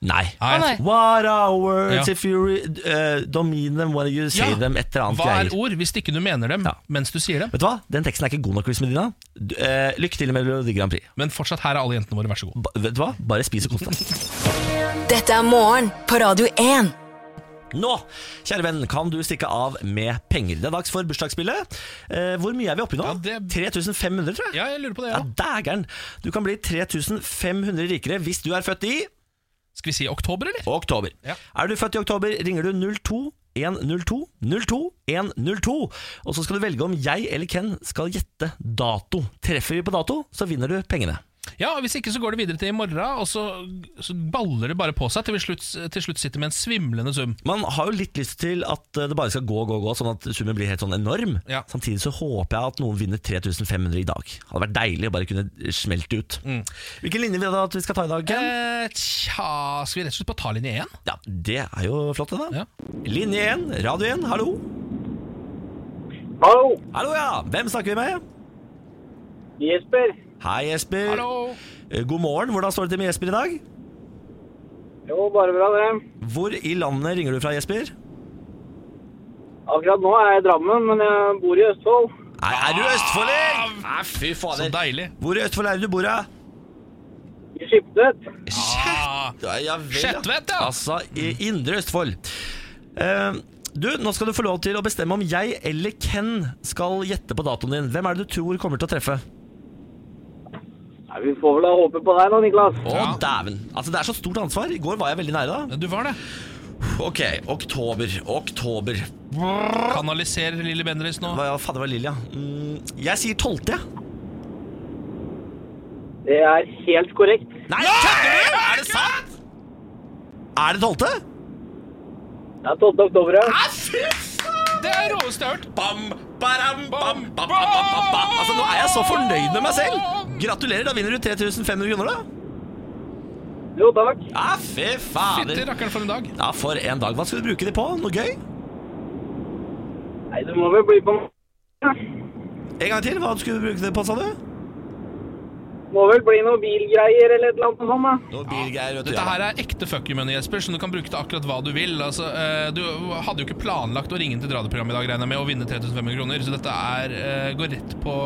Speaker 3: Nei.
Speaker 4: Nei,
Speaker 9: Å, nei.
Speaker 3: What are words
Speaker 4: Ja.
Speaker 3: if you re eh, don't mean them when you say
Speaker 4: Ja.
Speaker 3: them? Et eller annet
Speaker 4: Hva er
Speaker 3: greier.
Speaker 4: ord hvis ikke du mener dem
Speaker 3: Ja.
Speaker 4: mens du sier dem?
Speaker 3: Vet du hva? Den teksten er ikke god nok, Chris Medina. Du, eh, lykke til med Melodi Grand Prix.
Speaker 4: Men fortsatt, her er alle jentene våre, vær så god.
Speaker 3: Ba, vet du hva? Bare spis og kos deg.
Speaker 5: Dette er morgen på Radio 1.
Speaker 3: Nå, kjære venn, kan du stikke av med penger. Det er dags for bursdagsspillet. Eh, hvor mye er vi oppe i nå?
Speaker 4: Ja, det-
Speaker 3: 3500, tror jeg.
Speaker 4: Ja, jeg lurer på det,
Speaker 3: Ja,
Speaker 4: ja.
Speaker 3: dægeren. Du kan bli 3500 rikere hvis du er født i
Speaker 4: Skal vi si oktober, eller?
Speaker 3: oktober.
Speaker 4: Ja.
Speaker 3: Er du født i oktober, ringer du 02 102 02 102. Og så skal du velge om jeg eller Ken skal gjette dato. Treffer vi på dato, så vinner du pengene.
Speaker 4: Ja, og Hvis ikke så går det videre til i morgen, og så, så baller det bare på seg til vi slutt, til slutt sitter med en svimlende sum.
Speaker 3: Man har jo litt lyst til at eh, det bare skal gå, gå, gå, sånn at summen blir helt sånn enorm.
Speaker 4: Ja.
Speaker 3: Samtidig så håper jeg at noen vinner 3500 i dag. Hadde vært deilig å bare kunne smelte ut. Hvilken linje vil du at vi skal ta i dag? Ken?
Speaker 4: Mm. Eh, tja, skal vi rett og slett bare ta linje én?
Speaker 3: Ja, Det er jo flott, det, da.
Speaker 4: Ja.
Speaker 3: Linje 1, radio 1, hallo.
Speaker 8: Hallo,
Speaker 3: Hallo, ja! Hvem snakker vi med?
Speaker 8: Jesper.
Speaker 3: Hei, Jesper.
Speaker 4: Hallo!
Speaker 3: Eh, God morgen. Hvordan står det til med Jesper i dag?
Speaker 8: Jo, bare bra, det.
Speaker 3: Hvor i landet ringer du fra, Jesper?
Speaker 8: Akkurat nå er jeg i Drammen, men jeg bor i Østfold.
Speaker 3: Nei, er du østfolding?
Speaker 4: Ah,
Speaker 3: Nei, fy
Speaker 4: Så deilig.
Speaker 3: Hvor i Østfold er det du bor, da?
Speaker 8: I Skiptvet.
Speaker 4: Ah,
Speaker 3: Ja, ja vel,
Speaker 4: Skjetvet, ja.
Speaker 3: Altså, i Indre Østfold. Eh, du, nå skal du få lov til å bestemme om jeg eller Ken skal gjette på datoen din. Hvem er det du tror kommer til å treffe?
Speaker 8: Nei, vi får vel da håpe på deg nå, Niklas.
Speaker 3: Å,
Speaker 4: Ja.
Speaker 3: dæven. Altså, det er så stort ansvar. I går var jeg veldig nære, da.
Speaker 4: du var det.
Speaker 3: Ok, oktober. Oktober.
Speaker 4: Kanaliserer Lilly Bendriss nå.
Speaker 3: Hva fader var Lilja? Mm, jeg sier 12., jeg.
Speaker 8: Det er helt korrekt.
Speaker 3: Nei, kødder du?! Er det sant?! Er det 12.?
Speaker 8: Det er 12. oktober, ja.
Speaker 4: Det er råeste jeg har hørt!
Speaker 3: Bam, baram, bam, bam, bam, bam, bam, bam. Altså, nå er jeg så fornøyd med meg selv! Gratulerer, da vinner du 3500 kroner, da.
Speaker 8: Jo, takk.
Speaker 3: Ja, fy
Speaker 4: Fytti
Speaker 3: fader.
Speaker 4: rakkeren for en dag.
Speaker 3: Ja, for en dag. Hva skal du bruke de på? Noe gøy?
Speaker 8: Nei, du må vel bli på ja.
Speaker 3: En gang til, hva skulle du bruke det på, sa du?
Speaker 8: Må vel bli noen bilgreier eller et eller annet sånt, da.
Speaker 3: Noe bilgreier, vet du.
Speaker 4: Dette her er ekte fuck you money, Jesper, så du kan bruke til akkurat hva du vil. Altså, eh, du hadde jo ikke planlagt å ringe inn til et radioprogram i dag, regner jeg med, og vinne 3500 kroner, så dette er, eh, går rett på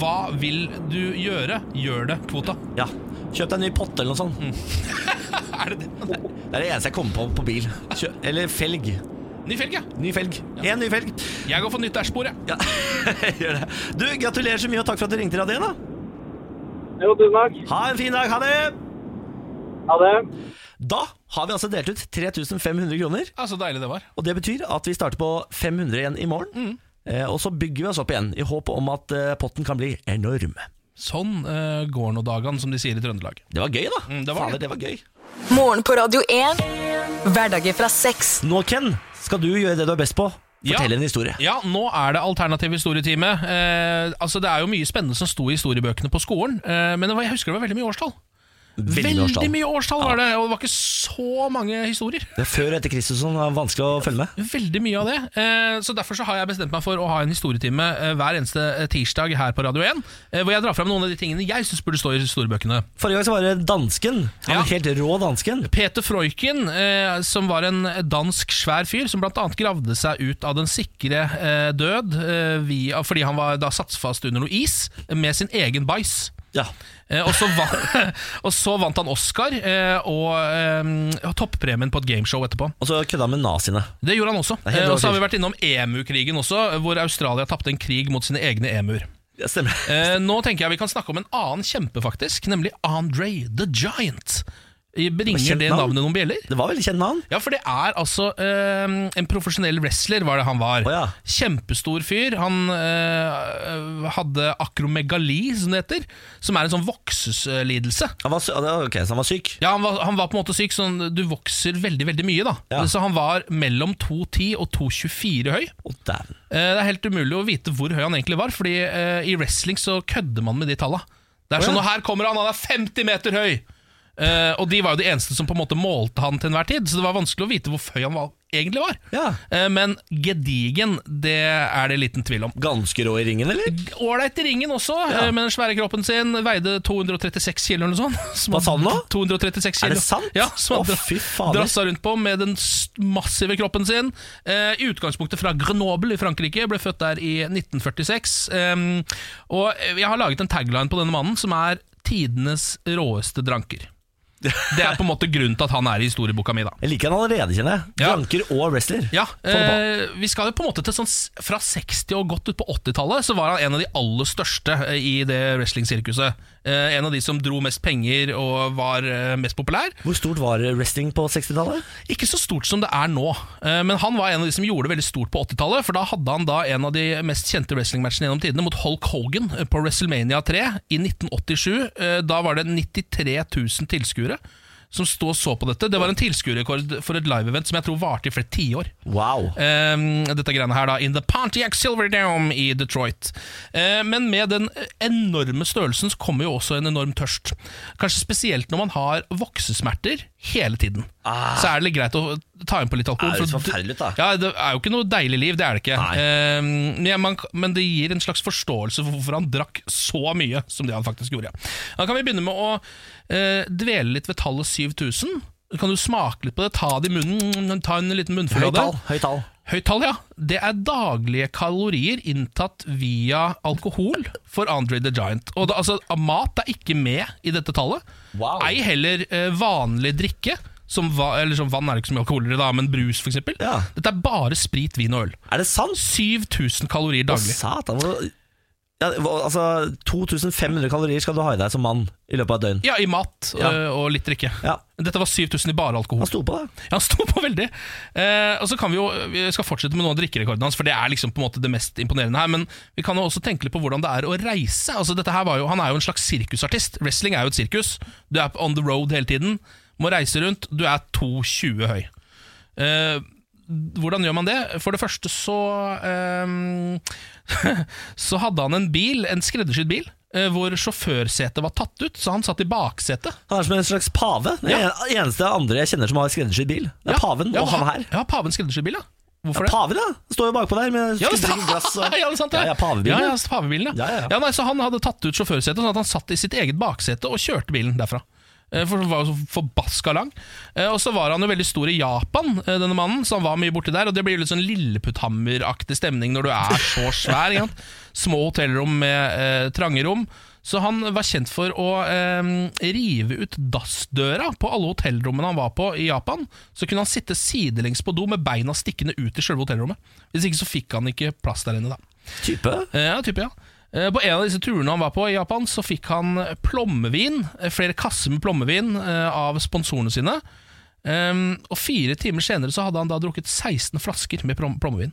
Speaker 4: Hva vil du gjøre? Gjør det, kvota.
Speaker 3: Ja. Kjøp deg en ny potte eller noe sånt.
Speaker 4: Mm. Er det det?
Speaker 3: Det er det eneste jeg kommer på på bil. Kjø eller felg.
Speaker 4: Ny felg, ja.
Speaker 3: Ny felg. Én ny felg.
Speaker 4: Jeg går for nytt dashbord, jeg.
Speaker 3: Ja, gjør det. Du, gratulerer så mye, og takk for at du ringte radioen, da.
Speaker 8: Jo, tusen takk.
Speaker 3: Ha en fin dag. Ha det!
Speaker 8: Ha det.
Speaker 3: Da har vi altså delt ut 3500 kroner.
Speaker 4: Ja, så Altså, deilig det var.
Speaker 3: Og det betyr at vi starter på 500 igjen i
Speaker 4: Mm.
Speaker 3: morgen. Eh, og så bygger vi oss opp igjen i håp om at eh, potten kan bli enorm.
Speaker 4: Sånn eh, går nå dagene, som de sier i Trøndelag.
Speaker 3: Det var gøy, da.
Speaker 4: Mm, det var
Speaker 3: Fader,
Speaker 4: det.
Speaker 3: det var gøy.
Speaker 5: Morgen på Radio 1. Hverdager fra seks.
Speaker 3: Nå, Ken, skal du gjøre det du er best på.
Speaker 4: Ja.
Speaker 3: Fortell en historie.
Speaker 4: Ja, nå er det alternativ historietime. Eh, altså, det er jo mye spennende som sto i historiebøkene på skolen, eh, men det var, jeg husker det var veldig mye årstall.
Speaker 3: Veldig mye årstall.
Speaker 4: mye årstall var det, og det var ikke så mange historier.
Speaker 3: Det er før og etter Kristus som er vanskelig å følge med.
Speaker 4: Veldig mye av det. Eh, så Derfor så har jeg bestemt meg for å ha en historietime eh, hver eneste eh, tirsdag her på Radio 1, eh, hvor jeg drar fram noen av de tingene jeg syns burde stå i historiebøkene.
Speaker 3: Forrige gang så var det dansken. Han
Speaker 4: Ja.
Speaker 3: var helt rå dansken.
Speaker 4: Peter Freuchen, eh, som var en dansk svær fyr, som bl.a. gravde seg ut av den sikre eh, død eh, via, fordi han var da satt fast under noe is med sin egen bæsj.
Speaker 3: Ja.
Speaker 4: Eh, og, så vant, og så vant han Oscar eh, og eh, toppremien på et gameshow etterpå.
Speaker 3: Og så kødda han med naziene.
Speaker 4: Det gjorde han også.
Speaker 3: er helt
Speaker 4: Eh, og så har
Speaker 3: rart.
Speaker 4: vi vært innom EMU-krigen også, hvor Australia tapte en krig mot sine egne EMU-er.
Speaker 3: Ja, stemmer.
Speaker 4: Eh, nå tenker jeg vi kan snakke om en annen kjempe, faktisk, nemlig Andre the Giant. I- Bringer
Speaker 3: Kjent
Speaker 4: det
Speaker 3: navn.
Speaker 4: navnet noen bjeller?
Speaker 3: Det var veldig kjent navn.
Speaker 4: Ja, for det er altså eh, en profesjonell wrestler, var det han var.
Speaker 3: Å ja.
Speaker 4: Kjempestor fyr. Han eh, hadde akromegali, som det heter, som er en sånn vokseslidelse.
Speaker 3: Han var, sy- ja, ok, så han var syk.
Speaker 4: Ja, han var, han var på en måte syk, sånn du vokser veldig veldig mye. da
Speaker 3: Ja.
Speaker 4: Så han var mellom 2,10 og 2,24 høy.
Speaker 3: Å, dæven.
Speaker 4: Eh, Det er helt umulig å vite hvor høy han egentlig var, Fordi eh, i wrestling så kødder man med de talla. Det er
Speaker 3: Å, ja.
Speaker 4: sånn, og her kommer han, han er 50 meter høy! Eh, og de var jo de eneste som på en måte målte han til enhver tid, så det var vanskelig å vite hvor høy han var egentlig var.
Speaker 3: Ja.
Speaker 4: Eh, Men gedigen, det er det liten tvil om.
Speaker 3: Ganske rå i ringen, eller?
Speaker 4: Ålreit i ringen også, eh, med den svære kroppen sin. Veide 236 kilo eller noe sånt. Som
Speaker 3: Hva sa den nå?
Speaker 4: 236
Speaker 3: Er
Speaker 4: kilo.
Speaker 3: det sant?
Speaker 4: Ja, som
Speaker 3: Å,
Speaker 4: han dra-
Speaker 3: fy fader.
Speaker 4: drassa rundt på med den s- massive kroppen sin. Eh, I utgangspunktet fra Grenoble i Frankrike, ble født der i 1946. Eh, og jeg har laget en tagline på denne mannen, som er 'Tidenes råeste dranker'. Det er på en måte grunnen til at han er i historieboka mi, da.
Speaker 3: Jeg liker han allerede, kjenner jeg.
Speaker 4: Ja.
Speaker 3: Dranker og wrestler.
Speaker 4: Ja,
Speaker 3: Få det på.
Speaker 4: eh, vi skal jo på en måte til sånn s- Fra 60 og godt ut på 80-tallet Så var han en av de aller største eh, i det wrestling-sirkuset eh, En av de som dro mest penger og var eh, mest populær
Speaker 3: Hvor stort var wrestling på 60-tallet?
Speaker 4: Ikke så stort som det er nå eh, Men han var en av de som gjorde det veldig stort på 80-tallet For da hadde han da en av de mest kjente wrestling-matchene gjennom tidene Mot Hulk Hogan eh, på WrestleMania 3 i 1987 eh, Da var det 93 000 tilskuere som stod og så på dette Det var en tilskuerekord for et live-event Som jeg tror varte i flere tiår
Speaker 3: Wow.
Speaker 4: Ehm, dette greiene her da In the Pontiac Silverdome i Detroit Ehm, Men med den enorme størrelsen Så kommer jo også en enorm tørst Kanskje spesielt når man har voksesmerter Hele tiden Så er det litt greit å ta inn på litt alkohol
Speaker 3: Ah. Det høres
Speaker 4: for du-
Speaker 3: forferdelig ut, da.
Speaker 4: Ja, det er jo ikke noe deilig liv, det er det ikke
Speaker 3: Nei.
Speaker 4: Ehm, men, man, men det gir en slags forståelse For hvorfor han drakk så mye Som det han faktisk gjorde Da kan vi begynne med å eh, dvele litt ved tallet 7000 kan du smake litt på det, ta det i munnen Ta en liten munnfull
Speaker 3: Høyt
Speaker 4: av det
Speaker 3: tall. Høyt tall.
Speaker 4: Høyt tall, ja. Det er daglige kalorier inntatt via alkohol for Andre the Giant. Og da, altså, Mat er ikke med i dette tallet.
Speaker 3: Wow.
Speaker 4: Ei heller eh, vanlig drikke. Som va eller som vann er det ikke så mye alkoholer i, da, men brus f.eks.
Speaker 3: Ja.
Speaker 4: Dette er bare sprit, vin og øl.
Speaker 3: Er det sant?
Speaker 4: 7000 kalorier
Speaker 3: Å,
Speaker 4: daglig.
Speaker 3: Satan. hvor- Ja, hva- altså, 2500 kalorier skal du ha i deg som mann i løpet av et døgn.
Speaker 4: Ja, i mat
Speaker 3: Ja.
Speaker 4: eh, og litt drikke.
Speaker 3: Ja.
Speaker 4: Dette var 7000 i bare alkohol.
Speaker 3: Han sto på, da.
Speaker 4: Ja, Han sto på veldig. Eh, og så kan Vi jo, vi skal fortsette med noen av drikkerekordene hans, for det er liksom på en måte det mest imponerende her. Men vi kan jo også tenke litt på hvordan det er å reise. Altså dette her var jo, Han er jo en slags sirkusartist. Wrestling er jo et sirkus. Du er on the road hele tiden. Må reise rundt. Du er 2,20 høy. Eh, hvordan gjør man det? For det første så eh, Så hadde han en bil, en skreddersydd bil, eh, hvor sjåførsetet var tatt ut, så han satt i baksetet.
Speaker 3: Han er som en slags pave. Det er en- eneste andre jeg kjenner som har skreddersydd bil. Det er paven og han her.
Speaker 4: Ja, paven skreddersydd bil, ja. Hvorfor det?
Speaker 3: Paven, ja! Han står jo bakpå der med
Speaker 4: Ja, det
Speaker 3: skreddersydd glass og
Speaker 4: ja, det er sant,
Speaker 3: Ja, ja, pavebilen, ja.
Speaker 4: Ja, ja, pavebilen, ja.
Speaker 3: Ja, ja, ja.
Speaker 4: nei, så han hadde tatt ut sjåførsetet, sånn at han satt i sitt eget baksete og kjørte bilen derfra. Eh, For han var jo så forbaska lang. Eh, Og så var han jo veldig stor i Japan, eh, denne mannen, så han var mye borti der. Og det blir jo litt sånn Lilleputthammer-aktig stemning når du er så svær. Ikke sant? Små hotellrom med eh, trange rom. Så han var kjent for å eh, rive ut dassdøra på alle hotellrommene han var på i Japan. Så kunne han sitte sidelengs på do med beina stikkende ut i selve hotellrommet. Hvis ikke så fikk han ikke plass der inne, da.
Speaker 3: type.
Speaker 4: Eh, Ja, type, ja. Eh, På en av disse turene han var på i Japan, så fikk han plommevin, eh, flere kasser med plommevin eh, av sponsorene sine. Ehm, og fire timer senere så hadde han da drukket 16 flasker med plom plommevin.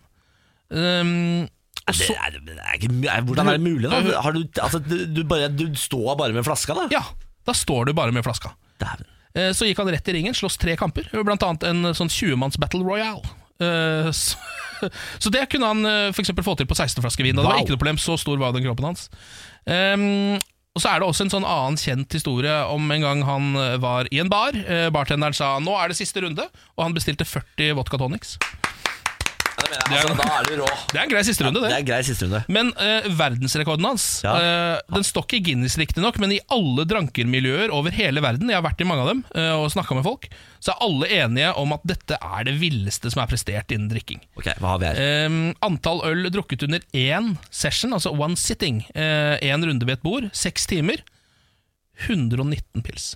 Speaker 4: Ehm,
Speaker 3: Ja, Det er, det er ikke, mu- er, hvordan er det mulig, da? Har du, altså, du, du, bare, du står bare med flaska, da?
Speaker 4: ja, da står du bare med flaska.
Speaker 3: Dæven.
Speaker 4: Eh, Så gikk han rett i ringen, sloss tre kamper, blant annet en sånn 20-manns battle royale. Eh, Så, så det kunne han eh, for eksempel få til på 16 flasker vin. Da. Det var
Speaker 3: Wow.
Speaker 4: ikke noe problem, så stor var den kroppen hans. Ehm, og Så er det også en sånn annen kjent historie om en gang han eh, var i en bar. Eh, Bartenderen sa 'nå er det siste runde', og han bestilte 40 vodka tonics. altså,
Speaker 3: da er du rå.
Speaker 4: Det er en grei siste runde,
Speaker 3: Det
Speaker 4: det.
Speaker 3: er grei siste runde.
Speaker 4: Men eh, verdensrekorden hans
Speaker 3: Ja.
Speaker 4: eh, Den står ikke i Guinness, riktignok, men i alle drankermiljøer over hele verden, jeg har vært i mange av dem eh, og snakka med folk, så er alle enige om at dette er det villeste som er prestert innen drikking.
Speaker 3: Ok, hva har vi her?
Speaker 4: Ehm, antall øl drukket under én session, altså one sitting, eh, én runde ved et bord, seks timer. 119 pils.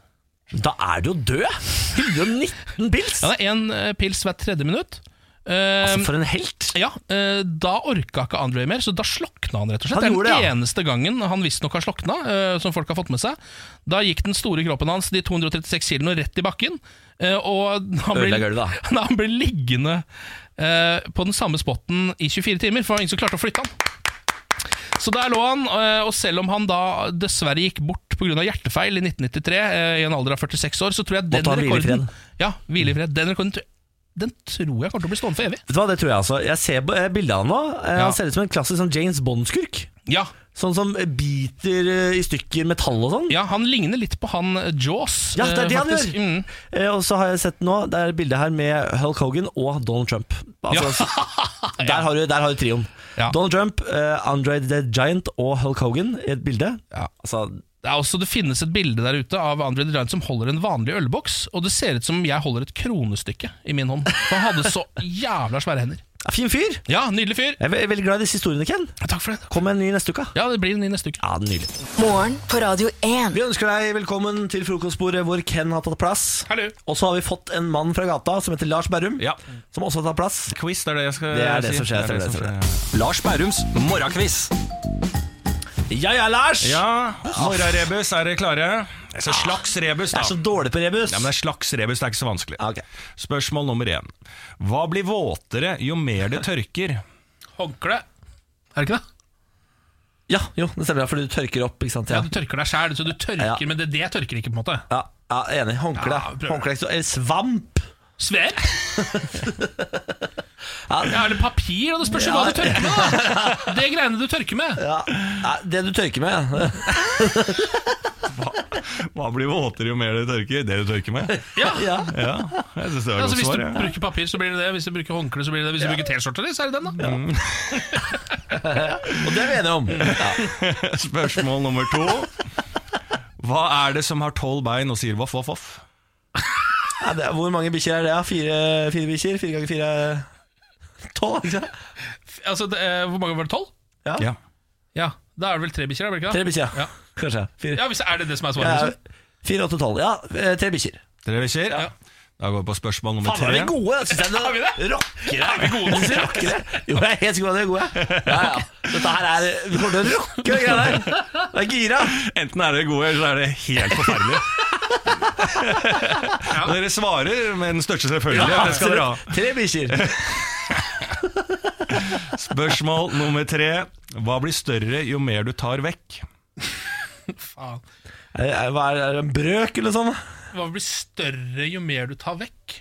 Speaker 3: Da er du jo død! 119 pils!
Speaker 4: Eh. Ja, det er én eh, pils hvert tredje minutt. Ehm,
Speaker 3: Altså, for en helt.
Speaker 4: Ja, eh, Da orka ikke André mer, så da slokna han. rett og
Speaker 3: Han
Speaker 4: slett Det
Speaker 3: gjorde
Speaker 4: er den
Speaker 3: det, ja.
Speaker 4: eneste gangen han visstnok har slokna, eh, som folk har fått med seg. Da gikk den store kroppen hans de 236 kiloene rett i bakken. eh, og han ble,
Speaker 3: Ødela gulvet, da.
Speaker 4: Nei, han ble liggende eh, på den samme spotten i 24 timer, for det var ingen som klarte å flytte han. Så der lå han, eh, og selv om han da dessverre gikk bort pga. hjertefeil i 1993, eh, i en alder av 46 år, så tror jeg den
Speaker 3: Måtte han hvile i
Speaker 4: rekorden
Speaker 3: fred.
Speaker 4: Ja, hvile i fred. Den rekorden tr- den tror jeg kommer til å bli stående for evig.
Speaker 3: Vet du hva, det tror jeg altså. Jeg ser på, eh, bildet av han nå. Eh,
Speaker 4: Ja.
Speaker 3: Han ser ut som en klassisk sånn James Bond-skurk.
Speaker 4: Ja,
Speaker 3: Sånn som biter eh, i stykker metall og sånn.
Speaker 4: Ja, han ligner litt på han eh, Jaws.
Speaker 3: Ja, det er
Speaker 4: eh,
Speaker 3: det han
Speaker 4: faktisk.
Speaker 3: gjør.
Speaker 4: Mm.
Speaker 3: Eh, Og så har jeg sett nå, det er et bilde her med Hulk Hogan og Donald Trump. Altså, der, har du, der har du trioen.
Speaker 4: Ja.
Speaker 3: Donald Trump, eh, Andre the Giant og Hulk Hogan i et bilde.
Speaker 4: Ja.
Speaker 3: Altså,
Speaker 4: Det er også, det finnes et bilde der ute av Andre Giant som holder en vanlig ølboks, og det ser ut som jeg holder et kronestykke i min hånd. For han hadde så jævla svære hender.
Speaker 3: fin fyr!
Speaker 4: Ja, nydelig fyr.
Speaker 3: Jeg er ve- veldig glad i disse historiene, Ken.
Speaker 4: Takk for det.
Speaker 3: Kom med en ny neste uke.
Speaker 4: Ja, det blir en ny neste uke.
Speaker 3: Ja, nydelig.
Speaker 5: Morgen på Radio 1.
Speaker 3: Vi ønsker deg velkommen til frokostbordet hvor Ken har tatt plass.
Speaker 4: Hallo.
Speaker 3: Og så har vi fått en mann fra gata som heter Lars Berrum,
Speaker 10: Ja.
Speaker 3: som også har tatt plass.
Speaker 10: Quiz, det er det jeg skal
Speaker 3: Det er det
Speaker 10: si.
Speaker 3: som skjer, det er det som skjer.
Speaker 1: Lars Bærums morgenkviss.
Speaker 3: Ja, ja, Lars!
Speaker 10: Ja, morgenrebus, er dere klare? Altså slags rebus,
Speaker 3: Jeg
Speaker 10: da.
Speaker 3: er så dårlig på rebus.
Speaker 10: Ja, men det er slags rebus, det er ikke så vanskelig.
Speaker 3: Ja, ok.
Speaker 10: Spørsmål nummer én. Hva blir våtere jo mer det tørker?
Speaker 4: Håndkle. Er det ikke det?
Speaker 3: ja, jo, det stemmer, ja, fordi du tørker opp. ikke sant?
Speaker 4: Ja,
Speaker 3: Ja.
Speaker 4: du tørker deg sjæl, så du tørker,
Speaker 3: Ja.
Speaker 4: men det, det tørker ikke, på en måte.
Speaker 3: Ja, ja enig. Håndkle.
Speaker 4: Ja, prøv.
Speaker 3: Håndkle eller eh, svamp.
Speaker 4: Svær? ja, eller papir, og det spørs jo hva du tørker med, da. Det greiene du tørker med.
Speaker 3: Ja. Nei, Det du tørker med.
Speaker 10: Hva blir våtere jo mer det tørker? Det du tørker med?
Speaker 4: Ja.
Speaker 3: Ja.
Speaker 10: Ja, jeg synes
Speaker 4: Altså,
Speaker 10: det var et godt
Speaker 4: hvis du
Speaker 10: svar. ja.
Speaker 4: bruker papir, så blir det det. Hvis du bruker håndkle, så blir det det. Hvis du bruker T-skjorte, så er det den, da.
Speaker 3: Og det er vi enige om. Ja.
Speaker 10: Spørsmål nummer to. Hva er det som har tolv bein og sier voff, voff, voff?
Speaker 3: Ja, det er, hvor mange bikkjer er det? Ja? Fire, fire bikkjer? Fire ganger fire Tolv, ikke sant?
Speaker 4: Altså, det, eh, hvor mange var det? Tolv?
Speaker 10: Ja.
Speaker 4: Ja. Da er det vel tre bikkjer, er det ikke
Speaker 3: Tre
Speaker 4: det?
Speaker 3: bikkjer.
Speaker 4: Ja.
Speaker 3: Ja. Kanskje. Fire,
Speaker 4: Ja, hvis er det det som er
Speaker 3: ja,
Speaker 4: svaret? liksom?
Speaker 3: fire åtte, tolv. Ja, eh, tre bikkjer.
Speaker 10: Dere bikkjer?
Speaker 4: Ja.
Speaker 10: Da går vi på spørsmål nummer
Speaker 3: Faen, nå er vi
Speaker 10: tre.
Speaker 3: gode! Synes jeg
Speaker 4: Er vi det?
Speaker 3: Rockere!
Speaker 4: Er vi gode nok?
Speaker 3: Synes jeg rockere? Jo, jeg er helt sikker på at vi er gode. Ja, ja. Dette her er Vi kommer til å rocke det greia der. Det er gira.
Speaker 10: Enten er dere gode, eller så er det helt forferdelig. Dere svarer med den største selvfølgelighet. det skal dere ha.
Speaker 3: Tre bikkjer.
Speaker 10: Spørsmål nummer tre. Hva blir større jo mer du tar vekk?
Speaker 4: Faen.
Speaker 3: Er- er- Hva er, er det, en brøk eller sånn?
Speaker 4: Hva blir større jo mer du tar vekk?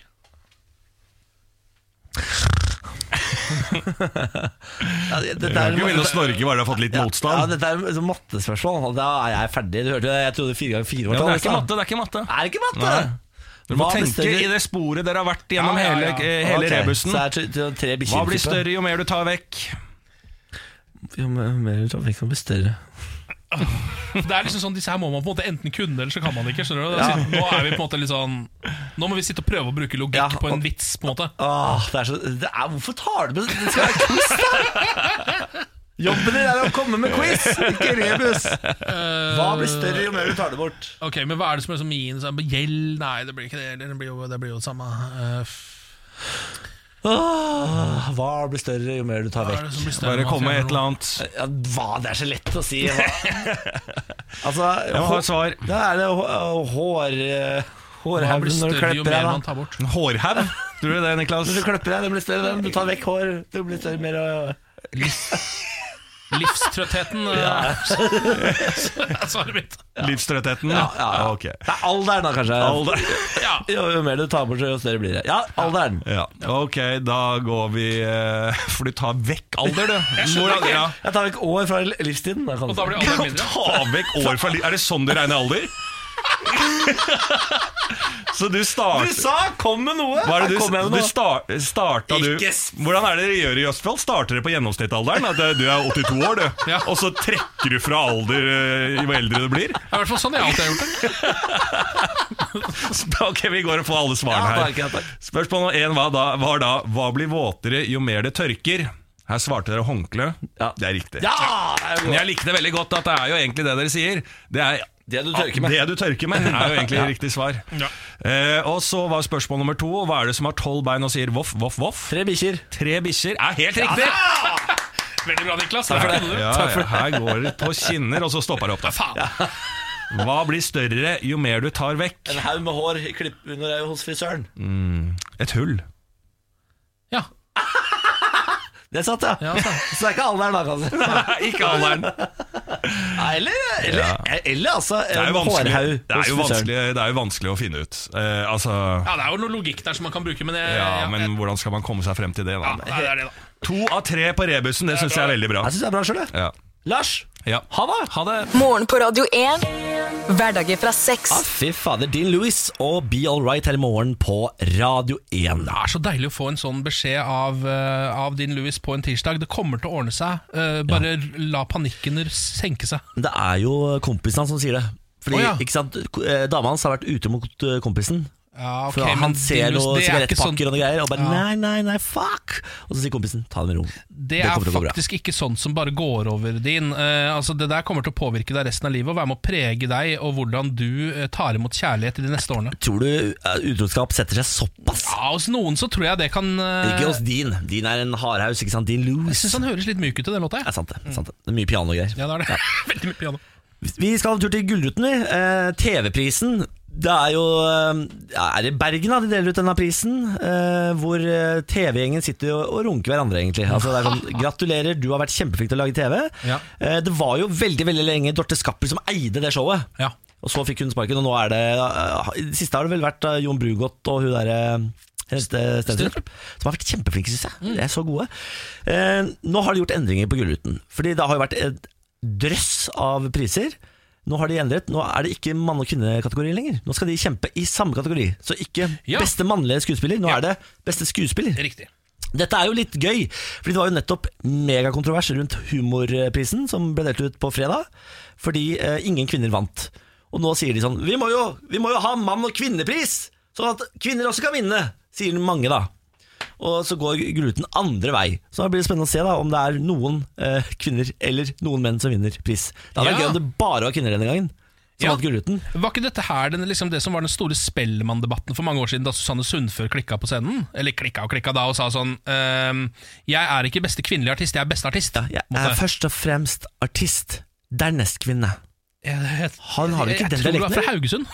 Speaker 3: Ja, det- dette
Speaker 10: Du kan
Speaker 3: er-
Speaker 10: ikke begynne å snorke bare du har fått litt
Speaker 3: Ja,
Speaker 10: motstand.
Speaker 3: dette er et sånt mattespørsmål. Da er jeg ferdig. Du hørte det, jeg trodde fire ganger fire var
Speaker 10: Ja,
Speaker 3: tolv.
Speaker 10: det er ikke matte. det er ikke matte
Speaker 3: Er det ikke matte?
Speaker 10: Nei. Dere må
Speaker 3: Hva blir
Speaker 10: tenke
Speaker 3: større-
Speaker 10: i det sporet dere har vært
Speaker 4: Ja,
Speaker 10: gjennom
Speaker 4: ja, ja.
Speaker 10: hele, eh, hele
Speaker 3: Ok,
Speaker 10: rebusen.
Speaker 3: Så er det tre- tre bikkjer.
Speaker 10: Hva blir større jo mer du tar vekk?
Speaker 3: Jo mer- mer trafikk som blir større.
Speaker 4: Det er liksom sånn, Disse her må man på en måte enten kunne, eller så kan man ikke. skjønner du? Det er sånn- Nå er vi på en måte litt sånn Nå må vi sitte og prøve å bruke logikk
Speaker 3: Ja,
Speaker 4: på en
Speaker 3: og-
Speaker 4: vits. på en måte
Speaker 3: Åh, det er så det er, Hvorfor tar du med Det skal være quiz, da! Jobben din er å komme med quiz, ikke rebus. Hva blir større jo mer du tar det bort?
Speaker 4: Ok, Men hva er det som er som min så er det gjeld? Nei, det blir ikke det. eller Det blir jo det, blir jo det samme. Eh, f-
Speaker 3: Åh, hva blir større jo mer du tar
Speaker 4: hva er det
Speaker 3: vekk?
Speaker 4: som blir større?
Speaker 10: Bare kom med et eller annet.
Speaker 3: Ja, hva? Det er så lett å si. Hva? Altså,
Speaker 10: Jeg må ha et svar.
Speaker 3: Da er det hå- øh, hår... øh,
Speaker 4: Hva blir
Speaker 3: Hårhaugen når du
Speaker 4: større jo
Speaker 3: klipper deg,
Speaker 4: mer man
Speaker 3: da.
Speaker 4: tar bort?
Speaker 10: En Hårhaug? Tror du det, Niklas?
Speaker 3: Når du klipper deg, det blir større. den. Du tar vekk hår, det blir større mer øh.
Speaker 4: Livstrøttheten eh, er svaret mitt.
Speaker 10: Livstrøttheten?
Speaker 3: ja.
Speaker 10: Ok.
Speaker 3: Det er alderen, da, kanskje.
Speaker 10: Alder.
Speaker 4: Ja,
Speaker 3: Jo, jo mer du tar bort, jo større blir det. Ja, alderen.
Speaker 10: Ja. Ok, da går vi eh, For du tar vekk alder, du.
Speaker 4: skjønner
Speaker 10: Hvordan-
Speaker 4: ikke.
Speaker 10: ja.
Speaker 3: Jeg tar vekk år fra livstiden. Da, kan du
Speaker 4: Og
Speaker 3: si.
Speaker 4: da blir
Speaker 10: Ja,
Speaker 4: alderen mindre.
Speaker 10: ta vekk år fra liv Er det sånn du regner alder? Så du
Speaker 3: Du
Speaker 10: starter
Speaker 3: sa 'kom med noe'!
Speaker 10: hva er
Speaker 3: Her
Speaker 10: det
Speaker 3: kom jeg
Speaker 10: du,
Speaker 3: med
Speaker 10: du
Speaker 3: noe.
Speaker 10: star, starta du
Speaker 3: Ikke s-
Speaker 10: Hvordan er det dere gjør i Østfold? Starter dere på gjennomsnittalderen? At eh, du er 82 år, du.
Speaker 4: Ja.
Speaker 10: Og så trekker du fra alder eh, jo eldre du blir?
Speaker 4: Det er i hvert fall sånn jeg alltid har gjort det.
Speaker 10: Så- Ok, vi går og får alle
Speaker 3: Ja,
Speaker 10: svarene
Speaker 3: takk, ja, takk.
Speaker 10: her. Spørsmål nummer én var da, var da Hva blir våtere jo mer det tørker? Her svarte dere håndkle.
Speaker 3: Ja.
Speaker 10: Det er riktig.
Speaker 3: Ja, det er jo
Speaker 10: Men
Speaker 3: godt.
Speaker 10: jeg likte veldig godt at det er jo egentlig det dere sier. Det er
Speaker 3: Det du tørker med.
Speaker 10: Det du tørker med, er jo egentlig riktig svar. Eh, og så var spørsmål nummer to hva er det som har tolv bein og sier voff, voff, voff?
Speaker 3: Tre bikkjer.
Speaker 10: Tre bikkjer er helt riktig!
Speaker 4: Veldig bra, Niklas. Takk for det.
Speaker 10: Ja, ja, her går det på kinner, og så stopper det opp. Da.
Speaker 4: Faen.
Speaker 10: Hva blir større jo mer du tar vekk?
Speaker 3: En haug med hår i klipp når jeg er hos frisøren.
Speaker 10: Et hull.
Speaker 4: Ja.
Speaker 3: Det satt, ja.
Speaker 4: Ja, sant.
Speaker 3: Så det er ikke alderen, da, kan du si.
Speaker 10: Ikke alderen.
Speaker 3: Nei, Eller, eller, eller altså
Speaker 10: Det er
Speaker 3: en
Speaker 10: jo vanskelig,
Speaker 3: hårhaug
Speaker 10: det er
Speaker 3: hos
Speaker 10: jo
Speaker 3: frisøren.
Speaker 10: vanskelig, det er jo vanskelig å finne ut. Eh, altså
Speaker 4: ja, det er jo noe logikk der som man kan bruke, men, jeg,
Speaker 10: ja, men
Speaker 4: jeg,
Speaker 10: hvordan skal man komme seg frem til det?
Speaker 4: ja,
Speaker 10: da?
Speaker 4: det er det, da.
Speaker 10: To av tre på rebusen, det syns jeg er veldig bra.
Speaker 3: Altså, Jeg syns det er bra sjøl, jeg.
Speaker 10: Ja.
Speaker 3: Lars, ha det! Ha det.
Speaker 5: Morgen på Radio 1. Hverdager fra seks.
Speaker 3: Ah, fy fader, Dean Lewis og Be All Right her i morgen på Radio 1.
Speaker 4: Det er så deilig å få en sånn beskjed av, eh, av din Louis på en tirsdag. Det kommer til å ordne seg. Eh, bare la panikken senke seg.
Speaker 3: Men Det er jo kompisen hans som sier det. Fordi,
Speaker 4: Å, ja.
Speaker 3: ikke sant, ko- eh, Dama hans har vært ute mot eh, kompisen.
Speaker 4: Ja, ok,
Speaker 3: For han
Speaker 4: men
Speaker 3: ser
Speaker 4: Dean Lewis,
Speaker 3: noen
Speaker 4: det er ikke
Speaker 3: sigarettpakker
Speaker 4: sånn-
Speaker 3: og noe greier, og bare
Speaker 4: Ja.
Speaker 3: nei, nei, nei, fuck! Og så sier kompisen ta det med ro.
Speaker 4: Det,
Speaker 3: kommer
Speaker 4: er
Speaker 3: til å gå bra.
Speaker 4: faktisk ikke sånt som bare går over din. Eh, altså Det der kommer til å påvirke deg resten av livet og være med å prege deg og hvordan du eh, tar imot kjærlighet i de neste årene.
Speaker 3: Tror du eh, utroskap setter seg såpass?
Speaker 4: Ja, Hos noen så tror jeg det kan eh,
Speaker 3: Ikke hos Dean. Dean er en hardhaus, ikke sant? Dean
Speaker 4: Jeg
Speaker 3: Lewis.
Speaker 4: syns han høres litt myk ut i den låta.
Speaker 3: Det er sant, det. sant det. det er mye piano og greier.
Speaker 4: Ja, det er det. Veldig mye piano.
Speaker 3: Vi skal ha en tur til Gullruten, vi. Eh, TV-prisen. Det er jo eh, Er det Bergen da de deler ut denne prisen? Eh, hvor eh, TV-gjengen sitter og, og runker hverandre, egentlig. Altså, det er sånn, Gratulerer, du har vært kjempeflink til å lage TV.
Speaker 4: Ja.
Speaker 3: Eh, det var jo veldig veldig lenge Dorte Skappel som eide det showet.
Speaker 4: Ja.
Speaker 3: Og så fikk hun sparken, og nå er det eh, i det Siste har det vel vært eh, Jon Brugodt og hun derre Stensrup, som har vært kjempeflinke, syns jeg. De er så gode. Eh, nå har de gjort endringer på Gullruten. Fordi det har jo vært et drøss av priser. Nå har de endret. Nå er det ikke mann- og kvinnekategori lenger. Nå skal de kjempe i samme kategori. Så ikke
Speaker 4: Ja.
Speaker 3: beste mannlige skuespiller, nå er det beste skuespiller.
Speaker 4: Riktig.
Speaker 3: Dette er jo litt gøy, fordi det var jo nettopp megakontrovers rundt humorprisen som ble delt ut på fredag, fordi eh, ingen kvinner vant. Og nå sier de sånn Vi må jo, vi må jo ha mann- og kvinnepris, sånn at kvinner også kan vinne, sier mange da. Og så går Gluten andre vei. Så da blir det spennende å se da om det er noen eh, kvinner eller noen menn som vinner pris. Det hadde vært
Speaker 4: Ja.
Speaker 3: gøy om det bare var kvinner denne gangen. Som
Speaker 4: Ja.
Speaker 3: vant Gullruten.
Speaker 4: Var ikke dette her den, liksom det som var den store Spellemann-debatten for mange år siden, da Susanne Sundfør klikka på scenen? Eller klikka og klikka da og sa sånn ehm, Jeg er ikke beste kvinnelige artist, jeg er beste artist.
Speaker 3: Jeg
Speaker 4: Måtte-
Speaker 3: er først og fremst artist, dernest kvinne.
Speaker 4: Jeg- jeg-
Speaker 3: Han har jo ikke
Speaker 4: jeg
Speaker 3: den
Speaker 4: tror du
Speaker 3: dialekten,
Speaker 4: er fra
Speaker 3: eller?
Speaker 4: Haugesund.